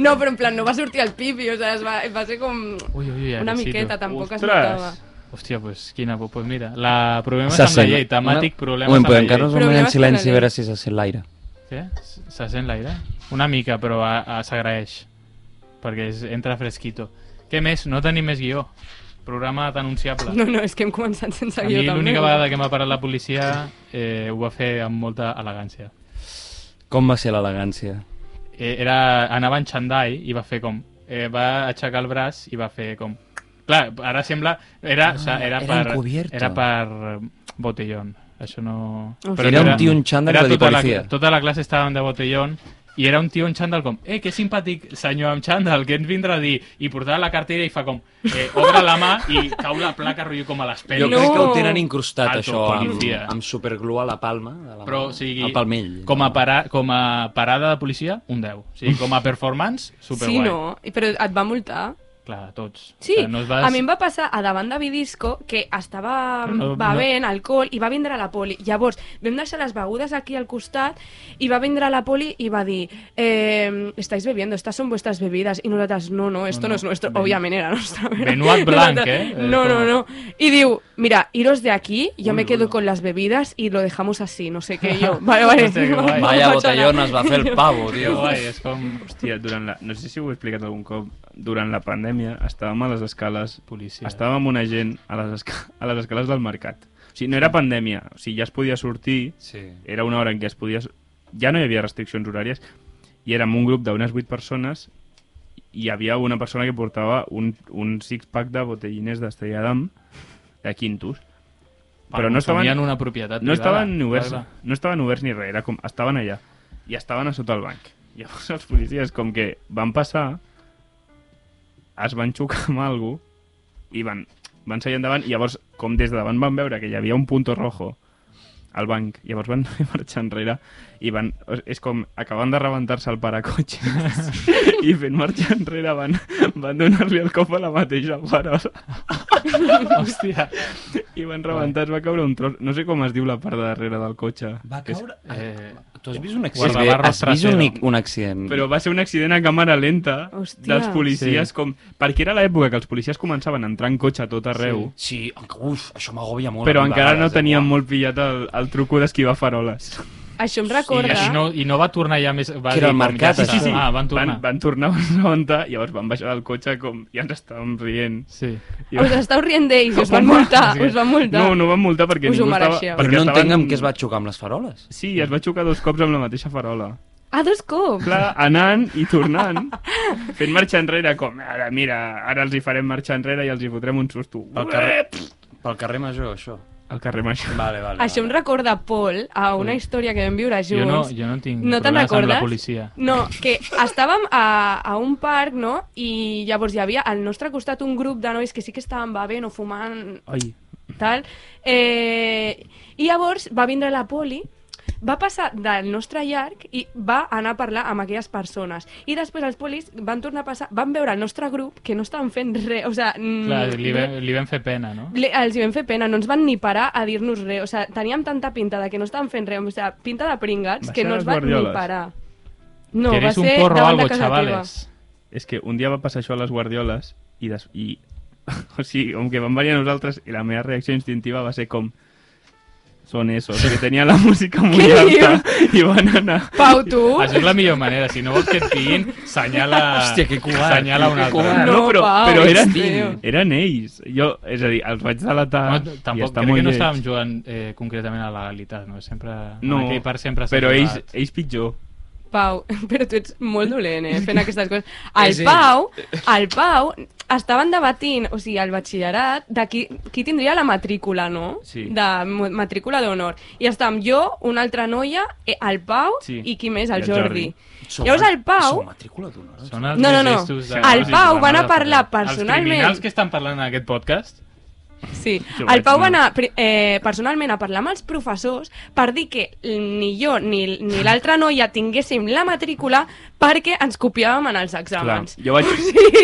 No, però en plan, no va sortir el pipi, o sigui, es va, va ser com
Ui, ui, ui,
una
aquest sí,
miqueta,
tu.
tampoc es
Ostres.
notava.
Hòstia, pues, quina por. Pues mira, la... problemes
Se
amb la
sent-
llei, temàtic,
Una-
problemes
Un moment,
amb la
però
llei.
encara us un moment
Problemes
en
amb
silenci
la
a
llei.
veure si se sent l'aire.
Què? Se sent l'aire? Una mica, però a- a- s'agraeix. Perquè és, entra fresquito. Què més? No tenim més guió. Programa denunciable.
No, no, és que hem començat sense
a
guió
mi
també.
l'única vegada que m'ha parat la policia eh, ho va fer amb molta elegància.
Com va ser l'elegància?
Eh, era, anava en xandall i va fer com... Eh, va aixecar el braç i va fer com... Clar, ara sembla... Era, o sea, era,
Ah, era
per,
encubierto.
era per botellón. Això no...
Hòstia.
Era
no
un tio en xandall
era
de
tota
policia.
La, tota la classe estàvem de botellón i era un tio en xandall com, eh, que simpàtic senyor amb xandall, que ens vindrà a dir? I portava la cartera i fa com, eh, obre la mà i cau la placa rotllo com a les
Jo
pel·lis.
No.
crec que ho tenen incrustat,
Alto,
això, amb,
policia.
amb superglú a la palma de la
Però, o
mà,
sigui,
al palmell.
com, a para, com a parada de policia, un 10. O sigui, com a performance, superguai.
Sí, no, I- però et va multar.
Clar, a tots.
Sí,
O sigui, no es vas...
a mi em va passar a davant de Bidisco que mm, estava
Però no-
bevent alcohol i va vindre la poli. Llavors, vam deixar les begudes aquí al costat i va vindre la poli i va dir eh, estáis bebiendo, estas son vuestras bebidas. I nosaltres, no, no, esto
No,
no, no
no,
es nuestro.
ben-
Òbviament era nostra. però
Benuat Blanc,
*laughs* nosaltres-
eh? Eh,
No, no,
com-
no. I diu, mira, iros de aquí, yo
Ui,
me quedo
ui.
con las bebidas y lo dejamos así, no sé qué.
*laughs*
Yo, vale, vale.
Hòstia, que guai.
no
Vaya
passa
botellón
nada.
es
*laughs*
va fer el pavo,
*laughs* Que
tio.
guai, eh. és com...
Hòstia, durant la... no sé si ho he explicat algun cop, durant la pandèmia estàvem a les escales,
Policia.
estàvem amb una gent a les, esca... a les escales del mercat. O sigui, no era pandèmia, o sigui, ja es podia sortir,
Sí.
era una hora en què es podia... Ja no hi havia restriccions horàries, i érem un grup d'unes 8 persones i hi havia una persona que portava un, un six-pack de botellines d'Estrella d'Am de Quintus. Però no estaven-
Consumien una propietat
No
privada.
estaven ni oberts,
Clar,
no estaven oberts ni res, era com, estaven allà i estaven a sota el banc. Llavors els policies com que van passar, es van xocar amb algú i van, van seguir endavant. i Llavors, com des de davant van veure que hi havia un punto rojo al banc, llavors van *laughs* marxar enrere i van, és com, acaben de rebentar-se el paracotxes *laughs* i fent marxar enrere van, van donar-li el cop a la mateixa parola
clar. *laughs* Hòstia.
i van rebentar, es va caure un tros, no sé com es diu la part de darrere del cotxe.
Va caure...
Eh,
Tu has vist un
Sí, és
accident?
bé,
Guardabarros
has vist un,
trasero.
un accident.
Però va ser un accident a càmera lenta
Hòstia.
dels policies,
Sí.
sí. com... perquè era l'època que els policies començaven a entrar en cotxe a tot arreu, sí.
Sí, uf, això m'agobia molt. a
però
mi
encara no
vegades, eh,
tenien
uah.
molt pillat el, el truco d'esquivar faroles.
Això em
I,
recorda...
I, no, I no va tornar ja més... Va
Que era
dir
el
com,
mercat,
ja està.
això.
Ah, van tornar.
Van, van tornar a rebentar, llavors van baixar del cotxe com... I ens estàvem rient.
Sí.
I
Us esteu rient d'ells, us van multar, us van multar.
No, no van multar perquè
Us ho
ningú estava...
mereixeu.
Però
perquè
no entenc
estaven-
amb què es va xocar amb les faroles.
Sí, es va xocar dos cops amb la mateixa farola.
Ah, dos cops?
Clar, anant i tornant, fent marxa enrere, com, ara, mira, ara els hi farem marxa enrere i els hi fotrem un susto.
Pel carrer, pel carrer Major, això.
Al carrer Major.
Vale, vale.
Això em recorda, Pol, a una història que vam viure junts.
Jo no, jo no tinc
No te'n
problemes amb
recordes?
la policia.
No, que estàvem a, a un parc, no? I llavors hi havia al nostre costat un grup de nois que sí que estaven bevent o fumant,
Ai,
tal. Eh, I llavors va vindre la poli, va passar del nostre llarg i va anar a parlar amb aquelles persones. I després els polis van tornar a passar, van veure el nostre grup que no estaven fent res, o sigui... mm,
Clar, li, vam, li vam fer pena, no?
li, els hi vam fer pena, no ens van ni parar a dir-nos res. O sigui, teníem tanta pinta de que no estàvem fent res, o sigui, pinta de pringats,
Va
que
ser
no
les
ens van ni
guardioles.
parar. No, va
Queréis un
ser
porro o
davant de
algo,
casa
chavales.
És que un dia va passar això a les guardioles i... *laughs* Des... i... o sigui, com que van venir a nosaltres i la meva reacció instintiva va ser com son esos, que tenien la *laughs* música molt
Què
alta i van anar...
Pau, tu?
Això és la millor manera. Si no vols que et pillin, senyala...
Hòstia, que covard.
Senyala un
Que
altre.
covard.
no, però- però
ets
eren-
teu.
Eren ells. Jo, és a dir, els vaig delatar
No,
i
tampoc,
està
crec
molt
que no
lleig.
estàvem jugant eh, concretament a la legalitat, no? Sempre,
No,
en aquell part sempre s'ha
però ells,
jugat.
ells pitjor.
Pau, *laughs* però tu ets molt dolent, eh, fent aquestes coses. El
És ell.
Pau, el Pau, estaven debatint, o sigui, al batxillerat, de qui, qui tindria la matrícula, no?
Sí.
De mo- matrícula d'honor. I estàvem jo, una altra noia, eh, el Pau
Sí.
i qui més, el,
I el
Jordi.
Jordi.
Som-
Llavors el Pau...
Som matrícula d'honor. eh?
Són els
No, no, no.
gestos de-
El Pau va anar a parlar
Els
personalment.
criminals que estan parlant en aquest podcast,
Sí,
Jo
el
vaig
Pau va
anar.
anar pri- eh, personalment a parlar amb els professors per dir que ni jo ni, ni l'altra noia tinguéssim la matrícula perquè ens copiàvem en els exàmens.
jo
*laughs*
vaig,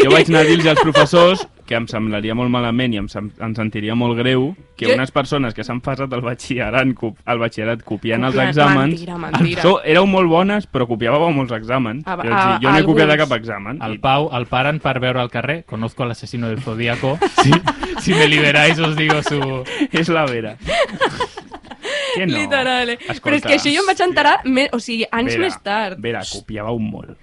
jo vaig anar a dir-los als professors que em semblaria molt malament i em, sem- em sentiria molt greu que
Jo-
unes persones que s'han passat el batxillerat, cop- el batxillerat copiant els
Copiant,
exàmens...
mentira, mentira.
So, éreu molt bones, però copiàveu molts exàmens.
A-
A, a,
a-
jo no he copiat de
alguns.
cap examen.
el
I-
Pau el paren per veure al carrer, conozco al asesino del Zodíaco, si, si me liberáis os digo su...
*laughs* És la vera. que no?
Literal, eh?
Escolta,
Però és que això jo em vaig enterar, me, o sigui, anys
Vera,
més tard.
Vera, copiàveu molt.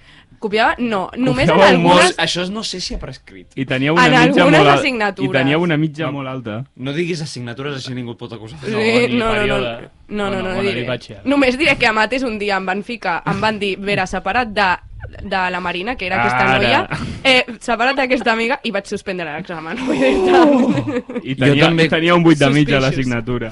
Copiava? No, només en
Copiava
algunes...
molts-
Això no sé si ha prescrit.
I teníeu una
En
mitja
algunes
molt al-
assignatures.
I teníeu una mitja molt alta.
No diguis assignatures, així ningú et pot acusar.
Sí,
ni
no, no, no, no,
període.
no, no,
Bueno,
no,
bueno,
diré.
li vaig a-
Només diré que a Mates un dia em van ficar, em van dir, Vera, separat de, de la Marina, que era aquesta
Ara.
noia, eh, separat d'aquesta amiga, i vaig suspendre l'examen. Oh!
I tenia,
també-
tenia un 8 de mitja
Suspicious.
a l'assignatura.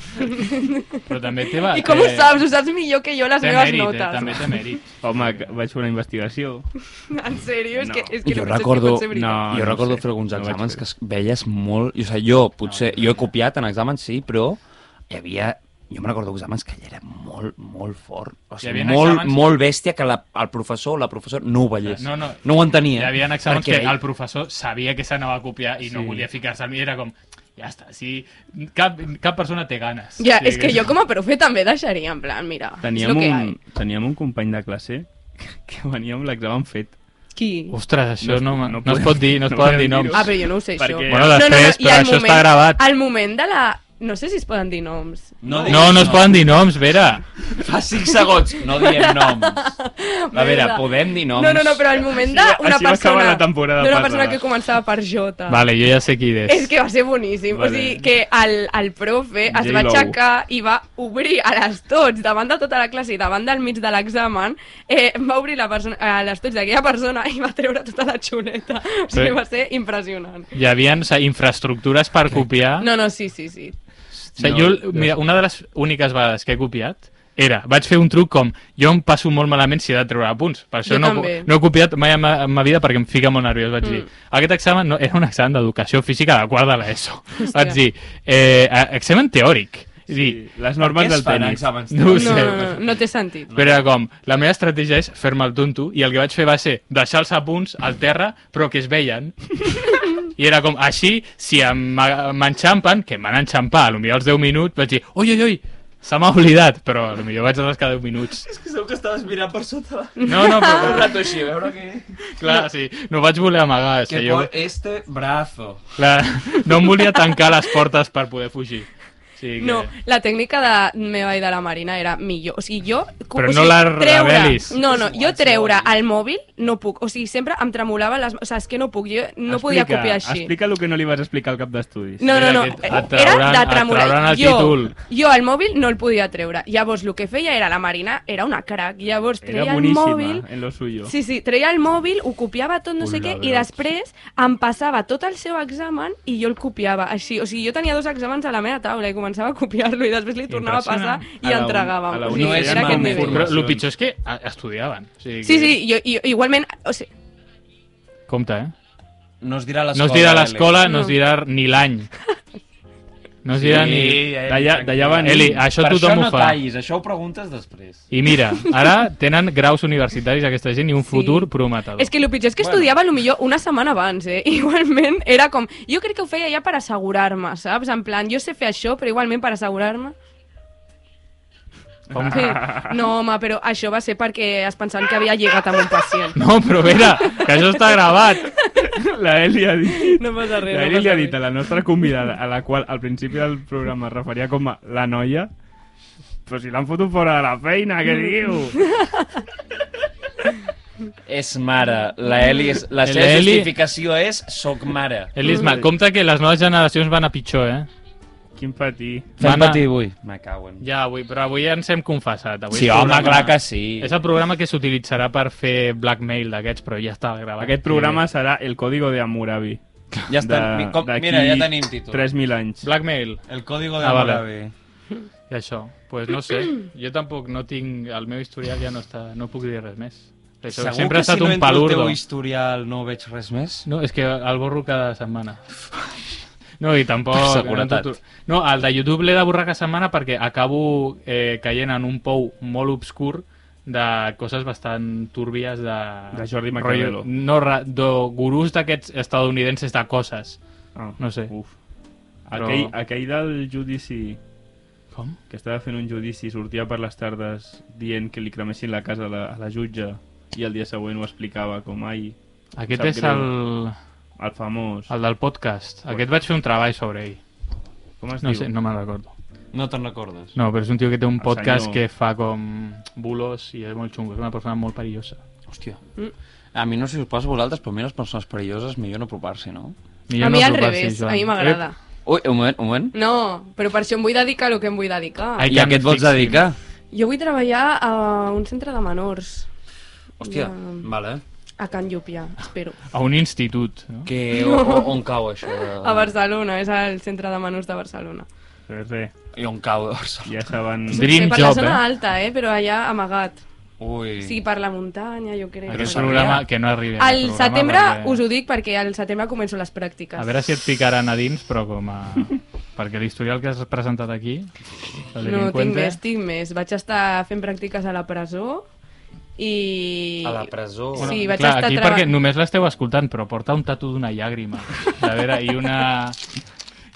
Però també té... va-
I com ho
Ah, té-
saps? Ho saps millor que jo les
Té
meves
mèrit, eh?
notes.
També té mèrit.
Home, que vaig fer una investigació.
En sèrio, és que, és que
Jo
no sé si
recordo,
pot ser veritat.
no,
veritat.
jo
No, no
recordo
sé.
fer alguns
No vaig
exàmens
fer.
que es veies molt... I, o sigui, jo potser... Jo he copiat en exàmens, sí, però hi havia... Jo me'n recordo exàmens que allà era molt, molt fort. O
Hi
sigui,
havia
molt,
exàmens-
molt bèstia que la, el professor o la professora no ho veiés.
No, no.
no ho entenia.
Hi havia exàmens
perquè
que el professor sabia que s'anava a copiar i no
Sí.
volia ficar-se al mig. Era com, ja està, si cap, cap persona té ganes.
Ja,
Sí,
és que jo com a profe també deixaria, en plan, mira, és
Teníem
lo que
un, teníem un company de classe que venia amb l'examen fet.
hi ha. Qui?
Ostres, això no, no,
no
no es
podem-
pot dir, no es
no
poden
podem
dir noms.
dir-ho.
Ah, però jo no ho sé,
Perquè-
això.
Bueno,
després, però
i el
això està gravat.
Al moment de la... No sé si es poden dir noms.
No,
No, no es poden dir noms, Vera.
Fa 5 segons, no diem noms. A veure, podem dir noms?
No, no, no, però al moment
Així-
d'una
així va acabar
persona...
la temporada
D'una
passada.
persona que començava per J.
Vale, jo ja sé qui és.
És que va ser boníssim. Vale.
Vale.
O sigui, que el, el profe es
J-Lo.
va aixecar i va obrir a les tots, davant de tota la classe i davant del mig de l'examen, eh, va obrir la persona, a les tots d'aquella persona i va treure tota la xuleta. O sigui,
Sí.
va ser impressionant.
Hi havia o sigui, infraestructures per copiar.
No, no, sí, sí, sí.
O sigui, jo, mira, una de les úniques vegades que he copiat era, vaig fer un truc com jo em passo molt malament si he de treure punts per això
Jo
no,
també.
no he copiat mai en ma, en ma vida perquè em fica molt nerviós vaig mm. dir, aquest examen no, era un examen d'educació física de quart de l'ESO vaig dir, eh, a- examen teòric sí. dir,
Les normes del tenis.
no ho
No,
sé
no, no, no té sentit.
però era com, la meva estratègia és fer-me el tonto i el que vaig fer va ser deixar els apunts al terra però que es veien i era com, així, si em- m'enxampen, que em van enxampar, a lo millor als 10 minuts, vaig dir, oi, oi, oi, se m'ha oblidat, però a lo millor vaig rascar 10 minuts.
És que segur que estaves mirant per sota.
No, no,
Un
però
rato així, a veure què...
clar, sí, no ho vaig voler amagar, és
Que
que
jo...
jo
este brazo.
clar, no em volia tancar les portes per poder fugir. O sigui que...
No, la tècnica de meva i de la Marina era millor. O sigui, jo...
Però
o
no
sigui,
la revelis.
No, no,
És igual,
jo
és
treure
igual.
el mòbil no puc. O sigui, sempre em tremolava les... O sigui, és que no puc, jo no
Explica-
podia copiar així.
Explica el que no li vas explicar al cap d'estudis.
No,
Mira
no, no,
que et-
eh,
et trauran-
era
et
de tremolar.
trauran el
jo,
títol.
jo el mòbil no el podia treure. Llavors, el que feia era la Marina, era una crac. Llavors,
Era
treia el
boníssima
mòbil...
en lo suyo.
Sí, sí, treia el mòbil, ho copiava tot, no sé
Hola,
què, i
veus.
després em passava tot el seu examen i jo el copiava, així. O sigui, jo tenia dos exàmens a la meva taula i començava a copiar-lo i després li tornava a passar
Impressionant.
i
A la un-
entregàvem.
a la
O sigui,
uni és
era aquest
malament.
nivell.
Però el pitjor és que a- estudiaven. O sigui
Sí,
que-
sí, jo, jo, igualment... O sigui,
Compte, eh?
No es dirà l'escola.
No es dirà
Ele.
l'escola, no es
No.
dirà ni
*laughs*
l'any. No es dirà ni...
Eli,
Talla-
tranquil.
tallaven-
Eli, això
per
tothom
això no
ho fa.
Tallis, això ho preguntes després.
I mira, ara tenen graus universitaris aquesta gent i un
Sí.
futur prometedor.
És que el pitjor és que
Bueno.
estudiava lo millor una setmana abans, eh? *laughs* Igualment era com... Jo crec que ho feia ja per assegurar-me, saps? En plan, jo sé fer això, però igualment per assegurar-me...
Com?
Sí. No, home, però això va ser perquè es pensaven que havia lligat amb un
*laughs*
pacient.
No, però Vera, que això està
*laughs*
gravat.
*laughs* La Eli ha dit...
No passa res,
La
no
Eli
passa
li ha
res.
dit a la nostra convidada, a la qual al principi del programa es referia com a la noia, Però si l'han fotut fora de la feina, què
Mm.
diu?
*laughs*
És mare. La Eli és... La seva
Eli-
justificació és soc mare.
Elisma, compte que les noves generacions van a pitjor, eh?
Quin patir.
Van
Fem
a-
patir avui. Me caguen.
Ja, avui, però avui ens hem confessat. Avui
Sí,
és
home,
programa-
clar que sí.
És el programa que s'utilitzarà per fer blackmail d'aquests, però ja està gravat.
Aquest programa serà el código de Hammurabi.
Ja està.
De-
mi- Com,
d'aquí
mira, ja tenim títol.
3.000 anys.
Blackmail.
El código
de Ah, vale. I això, doncs pues no sé, jo tampoc no tinc... El meu historial ja no està... No puc dir res més. Això,
Segur
sempre
que
ha estat
si no
un
entro al
palurdo.
teu historial no veig res més?
No, és que el borro cada
*laughs*
setmana. No, i tampoc...
Per seguretat.
No, el de YouTube l'he de borrar cada setmana perquè acabo eh, caient en un pou molt obscur de coses bastant turbies de...
De Jordi Maquiavelo.
Rotllo- No, ra- de gurús d'aquests estadounidenses de coses.
Ah,
no sé.
Uf.
Però-
Aquell, aquell del judici
Com?
que estava fent un judici sortia per les tardes dient que li cremessin la casa a la, a la jutge i el dia següent ho explicava com ai,
Aquest
Sap
és
greu.
el,
el famós.
el del podcast. Aquest vaig fer un treball sobre ell.
Com es
No
diu?
sé, no me'n recordo.
No te'n recordes.
No, però és un tio que té un
El
podcast
senyor-
que fa com bulos i és molt xungo. És una persona molt perillosa.
Hòstia.
Mm.
A mi no sé si us passa a vosaltres, però a mi les persones perilloses millor no apropar-s'hi, no?
Millor
a mi
no
al
apropar-s'hi,
revés,
Joan.
a mi m'agrada.
Ui, un moment, un moment.
No, però per això em vull dedicar el que em vull dedicar.
Ai,
I a què et vols
Fixin.
dedicar?
Jo vull treballar a un centre de menors,
Hòstia,
Ja.
vale.
a Can Llúpia, espero.
Ep, A un institut, no?
Que, o, o, on cau això? De...
A Barcelona, és al centre de menors de Barcelona.
Res, res.
I on cau de Barcelona?
Ja saben...
Dream
sí, per la
job,
zona
eh?
alta, eh? però allà amagat.
Ui.
Sí, per la muntanya, jo crec.
Aquest
no sé.
programa que no arribi.
Al
programa
setembre,
perquè-
us ho dic, perquè al setembre començo les pràctiques.
A veure si et picaran a dins, però com a... perquè l'historial que has presentat aquí... el
No, tinc
delinqüente,
més, tinc més. Vaig estar fent pràctiques a la presó i...
A la presó.
Sí,
Bueno,
vaig
clar,
estar
aquí
treball-
perquè només l'esteu escoltant, però porta un tatu d'una llàgrima. A veure, i una...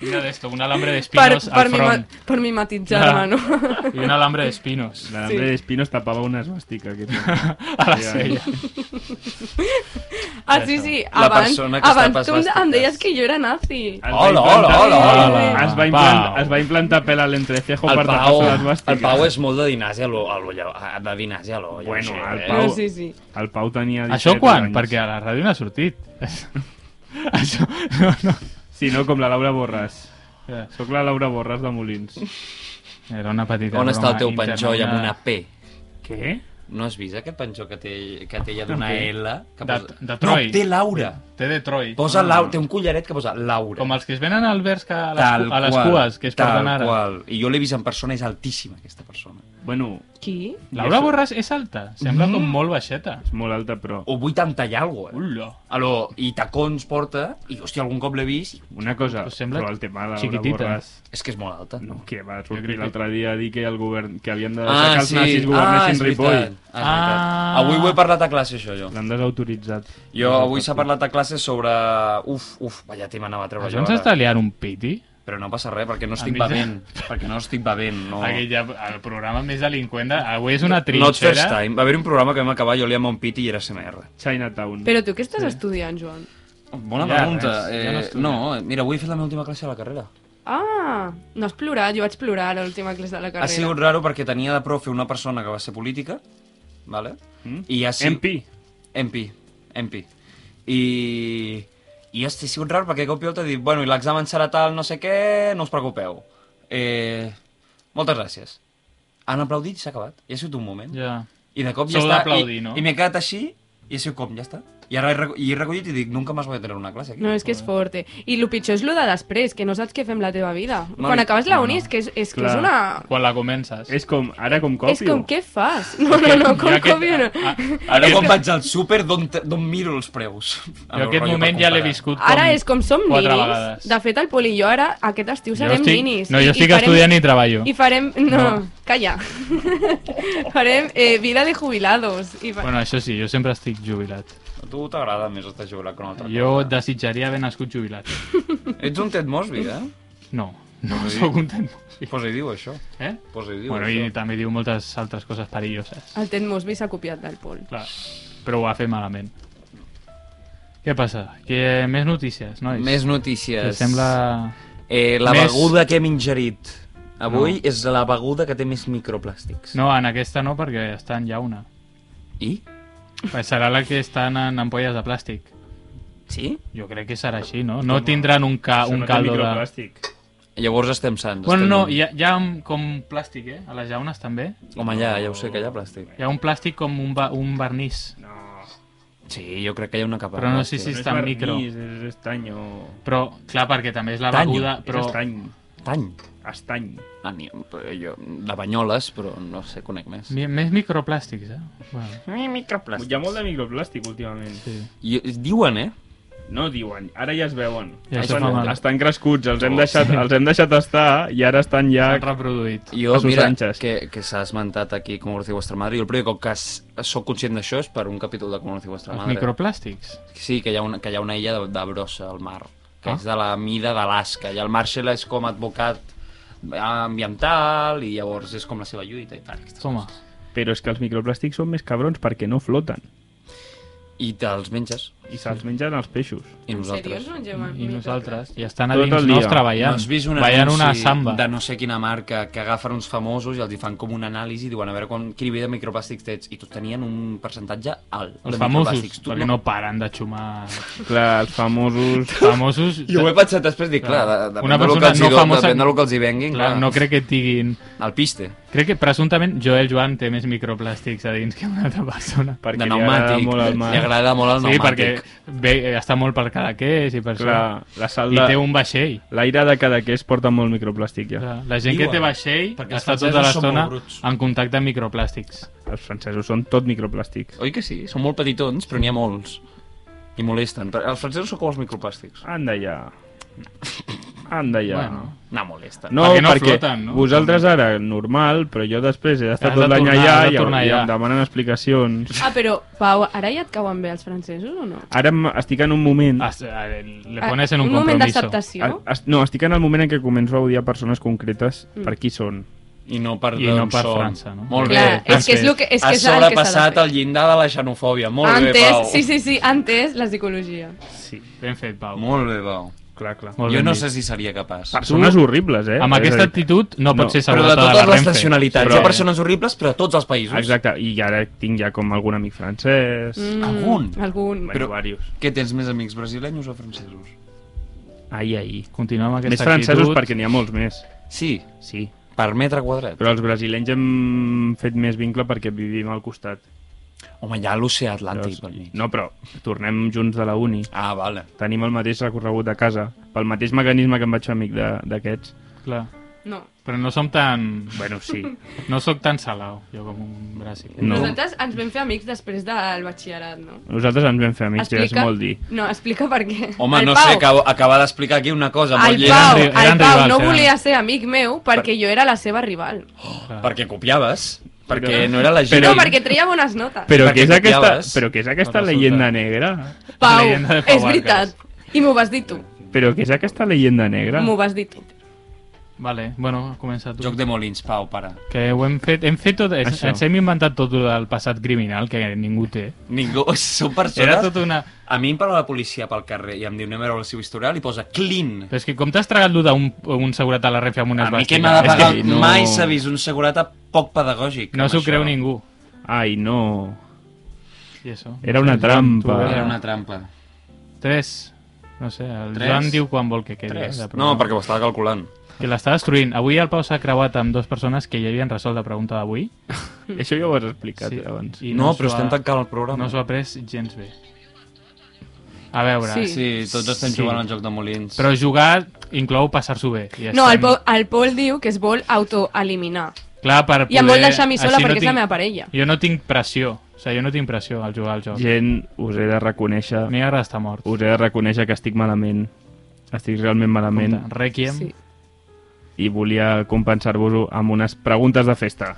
I una d'esto, un alambre
Per,
d'espinos
per,
al
mima,
front.
per mimetitzar-me,
Ah.
no?
I un alambre d'espinos
*laughs* L'André
Sí.
sí. Espinos tapava una esbàstica. Que... tenia.
a la sella.
Ah, sí, sí,
La
abans,
persona que està
abans
pas
tu em- em
vestida.
deies que jo era nazi.
Es va
Hola,
implantar-
hola,
hola, hola.
Es va,
Pau.
implantar, es va implantar pèl a l'entrecejo
El
per
Pau,
tapar-se l'esbàstica.
el Pau és molt de dinàsia, lo, a lo, lla- de dinàsia, lo,
Bueno, el
eh?
Pau-
No, sí, sí.
El Pau tenia 17
Això quan?
anys.
Perquè a la ràdio no ha sortit. *laughs* Això... No, no.
Sí, no, com la Laura Borràs. Sóc la Laura Borràs de Molins.
Era una petita
On està el
broma
teu
interna,
penjoll amb una P?
Què?
No has vist aquest penjó que té, que té ja d'una
Amb què?
L? Que
De-
posa...
de Troy.
No, té Laura.
Té de Troy.
Posa Laura. Té un collaret que posa Laura.
Com els que es venen al vers que a les, cu- a les
qual,
cues, que es
tal
porten ara.
Qual. I jo l'he vist en persona, és altíssima, aquesta persona.
Bueno,
Qui?
Laura Borràs és alta.
Mm.
Sembla com molt baixeta.
és molt alta, però...
O 80 i alguna cosa, eh?
Ullo.
Alò, i tacons porta, i hòstia, algun cop l'he vist, i
Una cosa,
Però sembla
però el tema de la Laura
xiquitita.
Borràs...
és que és molt alta.
No, que va
crec
sortir
que-
l'altre dia a dir que el govern que havien de deixar que els nazis
Ah, és
governessin Ripoll.
veritat. Ah, és veritat. Avui ho he parlat a classe, això, jo.
L'han desautoritzat.
Jo avui s'ha parlat a classe sobre... Uf, uf, vaya tema anava a treure
Això
jo
ens
ara.
està liant un piti.
Però no passa res, perquè no estic
mi ja-
bevent. Perquè no estic bevent, no...
Aquí ja, el programa més delinqüent de... Avui és una
Not first
trinxera.
time. Va haver un programa que vam acabar, jo li amb un pit i era CMR.
Chinatown.
Però tu què estàs estudiant, Joan?
Oh, Bona
Ja,
pregunta.
res, ja no
Eh,
estudio.
no, mira, avui he fet la meva última classe a la carrera.
Ah, no has plorat, jo vaig plorar a l'última classe de la carrera.
Ha sigut raro perquè tenia de profe una persona que va ser política, vale?
Mm?
I ha sigut...
MP.
MP. MP. I... I hosti, ha sigut rar perquè de cop i volta he dit, bueno, i l'examen serà tal, no sé què, no us preocupeu. Eh... Moltes gràcies. Han aplaudit i s'ha acabat. I ha sigut un moment.
Ja.
I de cop
Sou
ja està.
d'aplaudir,
I,
no?
i m'he quedat així i ha sigut com, ja està. I ara he, reco i he recollit i dic, nunca más voy a tener una clase aquí.
No, és que és fort. eh? I el pitjor és el de després, que no saps què fem la teva vida.
No,
Quan
i-
acabes la uni és que és, és, que és
Clar.
una...
Quan la comences.
És com, ara com copio.
És com, què fas? No, no, no, com
Jo aquest-
aquest... copio no.
a-
Ara quan vaig al súper, d'on te- d'on miro els preus? *laughs*
Jo aquest moment ja l'he viscut com...
Ara és com som
quatre
ninis.
vegades.
De fet, el Pol i jo ara, aquest estiu, serem
estic-
ninis.
no, jo estic estudiant i treballo.
I farem... No, calla. *laughs* farem eh, vida de jubilados. I fa...
Bueno, això sí, jo sempre estic jubilat.
A tu t'agrada més estar jubilat que una altra
Jo desitjaria haver nascut jubilat.
cosa. Ets un Ted Mosby, eh?
No, no sóc content.
Pues hi diu això.
Eh?
Pues hi diu
Bueno,
això.
i també diu moltes altres coses perilloses.
El Ted Mosby s'ha copiat del Pol.
Clar, però ho va fer malament. Què passa? Que més notícies, nois?
Més notícies.
Que sembla...
Eh, la
Més-
beguda que hem ingerit. Avui no. és la beguda que té més microplàstics.
No, en aquesta no, perquè està en llauna.
I?
Pues Eh, serà la que estan en ampolles de plàstic.
Sí?
Jo crec que serà així, no? No tindran un, ca, un caldo de...
microplàstic. De...
Llavors estem sants.
Bueno,
estem...
no, hi ha, hi ha com plàstic, eh? A les llaunes també.
Home, ja, ja ho sé, que hi ha plàstic.
Hi ha un plàstic com un, va, un vernís.
No,
Sí, jo crec que hi ha una capa.
Però no
de
sé si
plàstic.
no
està en
vernís,
micro.
És estany o...
Però, clar, perquè també és la
Tanyo,
beguda,
Però...
però...
És estany.
Tany.
Estany.
Ah, ni, però jo, de Banyoles, però no sé, conec més.
Mi- Més microplàstics, eh? Bueno,
Microplàstic.
Hi ha molt de microplàstic últimament.
sí.
I, diuen, eh?
No diuen, ara ja es veuen.
Ja es
estan,
fa mal.
estan crescuts, els
Oh.
hem, deixat, els hem deixat estar i ara estan ja...
S'han reproduït.
Jo,
Jesús
mira,
Sánchez.
que, que s'ha esmentat aquí com Conocido Vuestra Madre, i el primer cop que s- sóc conscient d'això és per un capítol de Conocido Vuestra
Els
Madre.
microplàstics.
Sí, que hi ha una, que hi ha una illa de, de brossa al mar, que
Ah.
és de la mida d'Alaska, i el Marshall és com advocat ambiental, i llavors és com la seva lluita i tal. aquestes
Toma.
coses.
Però és que els microplàstics són més cabrons perquè no floten.
I te'ls menges,
I se'ls mengen els peixos.
i nosaltres.
En sèrio,
I nosaltres. I estan a
Tot
dins
el dia.
nos treballant.
No has vist un
ballant
anunci
una samba.
de no sé quina marca que agafen uns famosos i els hi fan com una anàlisi i diuen a veure quan, quin nivell de microplàstics tens i tots tenien un percentatge alt
Els
de
famosos,
microplàstics. Tu
perquè no paren de xumar.
Clar, els famosos...
*laughs*
Famosos...
Jo ho he pensat després, dic, clar, de, depèn,
Una
del
persona
que els
no
hi do,
famosa-
depèn del que els hi venguin, clar,
Clar, no crec que et diguin...
el piste.
Crec que presumptament Joel Joan té més microplàstics a dins que una altra persona.
Perquè
de
li agrada
pneumàtic.
molt al mar.
Li agrada molt el
Sí, perquè
pneumàtic.
ve, està molt per Cadaqués i per
Clar,
això.
la sal
I té
de...
un vaixell.
L'aire de Cadaqués porta molt microplàstic ja.
Clar, La gent que
Diuen,
té vaixell
perquè els
està tota
francesos són
l'estona
molt bruts.
en contacte amb microplàstics.
Els francesos són tot microplàstic.
Oi que sí? Són molt petitons, però n'hi ha molts. I molesten. Però Els francesos són com els microplàstics.
Anda ja. Anda ja.
Bueno.
No molesten.
No,
Perquè no
perquè,
floten, no?
vosaltres ara, normal, però jo després he d'estar
Has de
tot l'any
tornar,
allà
has de
i,
tornar
i
allà.
em demanen explicacions.
Ah, però, Pau, ara ja et cauen bé els francesos o no?
Ara em- estic en un moment... Ah,
Es- eh, Le pones en un,
un moment
compromiso.
d'acceptació.
es- no, estic en el moment en què començo a odiar persones concretes
Mm.
per qui són.
I no per,
I no
d'on
per
són.
França, no?
Molt
Clar,
bé.
Francesc.
és que és, lo que, és, que
Has
és el que s'ha
sobrepassat
de
el llindar de la xenofòbia. Molt
fer.
bé, Pau.
Antes, sí, sí, sí, antes la psicologia.
Sí, ben fet, Pau.
Molt bé, Pau.
Clar, clar.
Molt
jo
ben
no
dit.
sé si seria capaç.
Persones horribles, eh?
Amb
És a
aquesta
dir,
actitud no,
No.
pots ser
Però de
segurata de,
totes
la
les
Renfe.
nacionalitats.
Però-
Hi ha persones horribles, però a tots els països.
Exacte, i ara tinc ja com algun amic francès... Mm.
Algun.
Algun.
Bueno,
Però-
varios.
Què tens més amics, brasilenyos o francesos?
Ai, ai.
Continuem amb
Més
aquesta
francesos
actitud.
perquè n'hi ha molts més.
Sí,
Sí.
per metre quadrat.
Però els brasilenys hem fet més vincle perquè vivim al costat.
Home, hi ha l'oceà Atlàntic pel mig.
No, però tornem junts de la uni.
Ah, vale.
Tenim el mateix recorregut de casa. Pel mateix mecanisme que em vaig fer amic de- d'aquests.
Clar.
No.
Però no som tan...
Bueno, sí.
No sóc tan salau, jo com un bràsic.
No.
Nosaltres ens vam fer amics després del batxillerat, no?
Nosaltres ens vam fer amics, ja és molt dir.
No, explica per què.
Home,
El
no
Pau,
sé, acabo, acaba d'explicar aquí una cosa molt
El
llena.
Pau,
Eren ri- eren
el Pau
rivals,
no
eren-
volia ser amic meu perquè jo era la seva rival.
Perquè copiaves, perquè no era la gent.
Però-
no, perquè treia bones notes.
Però
Perquè
què és aquesta,
copiaves.
però què és aquesta
Resulta.
leyenda negra?
Pau,
leyenda de Pau
és
Arcas.
veritat. I m'ho vas dir tu.
Però què és aquesta leyenda negra?
M'ho vas dir tu.
Vale, bueno, comença tu.
Joc de molins, Pau, para.
Que ho hem fet, hem fet tot, ens,
Això.
ens hem inventat tot el del passat criminal que ningú té.
Ningú, *laughs* són
Era
persones...
tot una...
A mi em parla la policia pel carrer i em diu anem a veure el seu historial i posa clean.
Però és que com t'has tragat lo d'un un segurat a la refi amb unes
A mi que
bastides?
m'ha de
És
pagar...
que no-
Mai s'ha vist un segurata poc pedagògic.
No
amb
s'ho
això.
creu ningú.
Ai, no.
I això.
Era una
El Joan, tu,
trampa.
Era
era
una trampa.
Tres. No sé, el
Tres?
Joan diu quan vol que quedi.
Tres.
eh, de
No,
programa.
perquè ho estava calculant.
Que l'està destruint. Avui el Pau s'ha creuat amb dues persones que ja havien resolt la pregunta d'avui.
Això ja ho has explicat sí. abans.
Mm. i
No,
s'ho
però
ha-
estem tancant el programa.
No s'ho ha pres gens bé. A veure,
Sí.
Sí, tots estem
Sí.
jugant al joc de molins.
però jugar inclou passar-s'ho bé. I
No, el
estem-
Pau, el Pol diu que es vol autoeliminar.
Clar, per poder...
I em vol deixar a mi sola
Així
perquè és
tinc-
la meva parella.
Jo no tinc pressió. O sigui, jo no tinc pressió al jugar al joc. Yeah.
Gent, us he de reconèixer...
A mi m'agrada estar mort.
Us he de reconèixer que estic malament. Estic realment malament.
Compte, Requiem.
Sí.
I volia compensar-vos-ho amb unes preguntes de festa.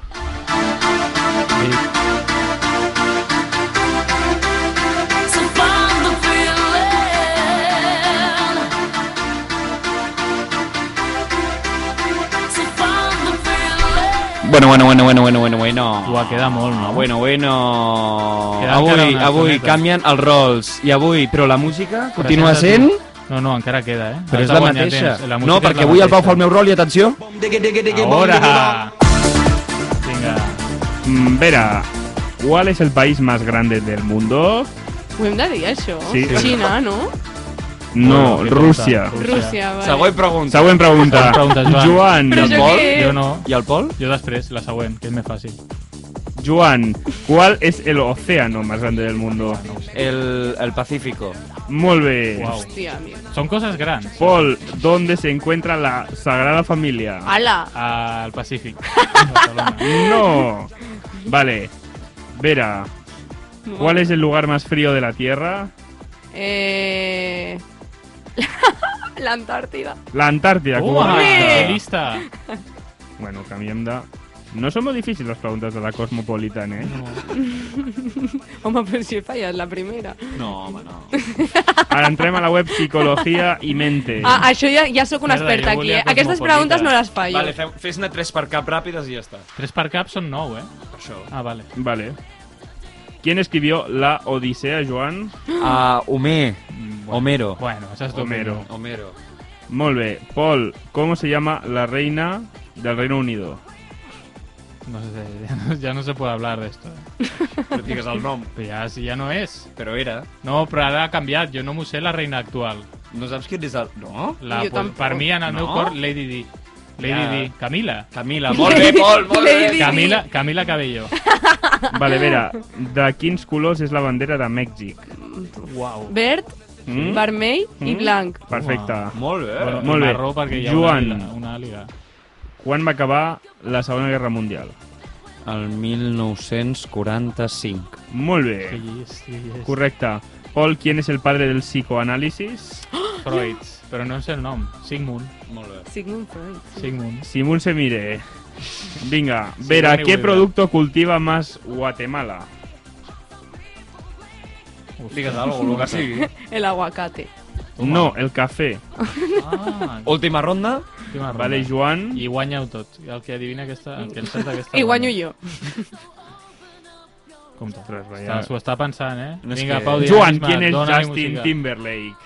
So find the feeling. So find the feeling.
Bueno, bueno, bueno, bueno, bueno, bueno, bueno.
Ua, queda pues molt, no?
Ah, Bueno, bueno.
Queda encara
Avui,
una
avui
estoneta.
canvien els rols. I avui, però la música continua
Presenta
sent...
tu. No, no, encara queda, eh?
Però
Has
és
de
la
guanyar
mateixa.
temps. La música
no,
és la
perquè avui el Pau
mateixa.
fa el meu rol i atenció.
Ahora. Vinga.
Mm, Vera, ¿cuál es el país más grande del mundo?
Ho hem de dir, això?
Sí.
Xina, no?
No,
Bueno,
Rússia.
què
Rússia, vale.
Següent pregunta.
Següent pregunta.
Següent pregunta,
Joan,
Joan.
Però això
vol?
què és?
Jo no.
I el Pol?
Jo després, la següent, que és més fàcil.
Joan, ¿cuál es el océano más grande del mundo?
El, el Pacífico.
Molt bé.
Uau.
Hòstia, mi.
Són coses grans.
Paul, ¿dónde se encuentra la Sagrada Familia?
Ala!
Al Pacífic. Barcelona.
No. Vale. Vera, ¿cuál es el lugar más frío de la Tierra?
Eh... *laughs* L'Antàrtida.
La Antártida. com
Ua,
ho
que
dius?
lista.
Bueno, canviem de... No són molt difícils les preguntes de la Cosmopolitan, eh?
Home, però si he fallat la primera.
No, home, no.
Ara entrem a la web Psicologia i Mente.
Ah, això ja, ja sóc una
Merda,
experta
jo
aquí,
volia
eh? Aquestes
cosmopolita.
preguntes no les fallo.
Vale, fem- fes-ne tres per cap ràpides i ja està.
Tres per cap són nou, eh?
Per això.
Ah, vale.
Vale. ¿Quién escribió la Odisea, Joan?
Uh, Homer. Homero.
Bueno, això és tu.
Homero.
Homero.
Molt bé. Paul, ¿cómo se llama la reina del Reino Unido?
No sé, *laughs* ja no, ja no se puede hablar de esto. eh?
No digues el nom.
Però ja, si ja no és.
Però era.
No, però ara ha canviat. Jo no m'ho sé la reina actual.
No saps qui és el... No?
La,
Jo tampoc.
per mi, en el meu
No?
cor, Lady Di. Lady
Ja.
Di. Camila.
*laughs* Camila. Molt bé, Pol, molt
Lady.
bé.
Camila, Camila
*laughs*
Cabello.
Vale, Vera, de quins colors és la bandera de Mèxic?
Wow.
Verd,
Mm?
vermell i
Mm?
blanc.
Perfecte.
Molt bé.
Bueno,
Molt
Molt
bé.
bé. Marró perquè hi ha una
Joan.
liga. Una liga.
Quan va acabar la Segona Guerra Mundial?
El 1945.
Molt
Que
bé.
hi és, que hi és.
Correcte. Paul, ¿quién es el padre del psicoanálisis?
Ah! Freud. Però no sé el nom. Sigmund.
Molt bé.
Sigmund Freud. Sí.
Sigmund.
Simón se mire. Venga, Vera,
Sigourney
¿qué
Weaver.
producto cultiva más Guatemala?
Digues alguna cosa, el que sigui.
El aguacate.
No, el café.
*laughs* Ah,
Última ronda.
última ronda.
Vale, Joan.
Ah, I guanyeu tot. El que adivina aquesta... El que encerta aquesta...
I guanyo
guanya.
jo.
Compte.
Ostres, vaya.
Està, s'ho està pensant, eh?
No és
Vinga,
que-
Pau, digues,
Joan,
Isma,
¿quién es
dona-li
Justin
música.
Timberlake?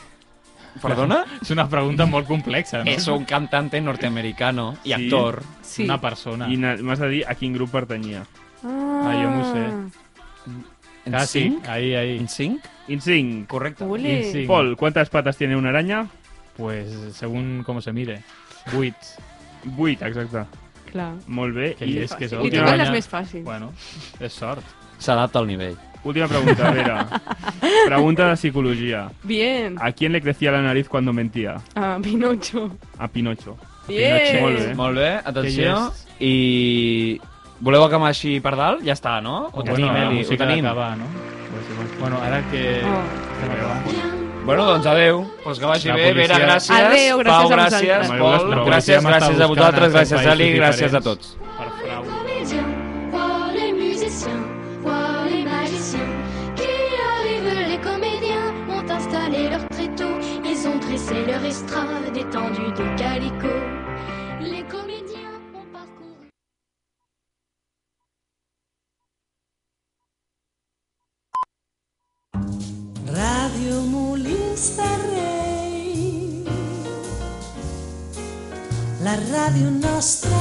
Perdona?
És una pregunta molt complexa, no?
*laughs* És un cantante norteamericano i
Sí.
actor.
Sí.
Una persona.
I na- m'has de dir a quin grup pertanyia.
Ah,
jo m'ho sé.
En
Quasi.
cinc?
Ahí, ahí.
En cinc?
Insync.
Correcte.
Ule.
I cinc.
Paul, ¿cuántas patas tiene una araña?
Pues, según com se mire. Vuit.
Vuit, exacte.
Clar.
Molt bé.
Que
I
hi és, que és
Li
l'última.
toquen les
Guanya.
més fàcils.
Bueno, és sort.
S'adapta al nivell.
última pregunta, Vera.
*laughs*
Pregunta de psicología.
Bien.
Ah.
¿A quién le crecía la nariz cuando mentía?
Ah, Pinocho.
A Pinocho.
Bien.
molt bé.
Molt bé, atenció.
Que
I... Voleu acabar així per dalt? Ja està, no? Ho tenim,
bueno, eh, la
Eli, ho
música
tenim.
d'acabar, no? Bueno, ara que...
Oh.
que m'acabem.
Bueno, doncs adeu. Pues que vagi
La
bé,
policia-
Vera, gràcies.
Adeu, gràcies
Pau,
a
gràcies.
vosaltres.
La
Pol,
policia
gràcies,
m'està
gràcies a
buscant
vosaltres,
en cent
gràcies, Eli,
països
grâcies a
diferents.
tots.
Per frau.
comédiens, voir les musiciens, voir les magiciens. Qui arrive, les comédiens ont installé leurs tréteaux, ils ont dressé leur estrade étendue de calicot. Les comédiens ont parcouru.
Radio Molins de Rei La ràdio nostra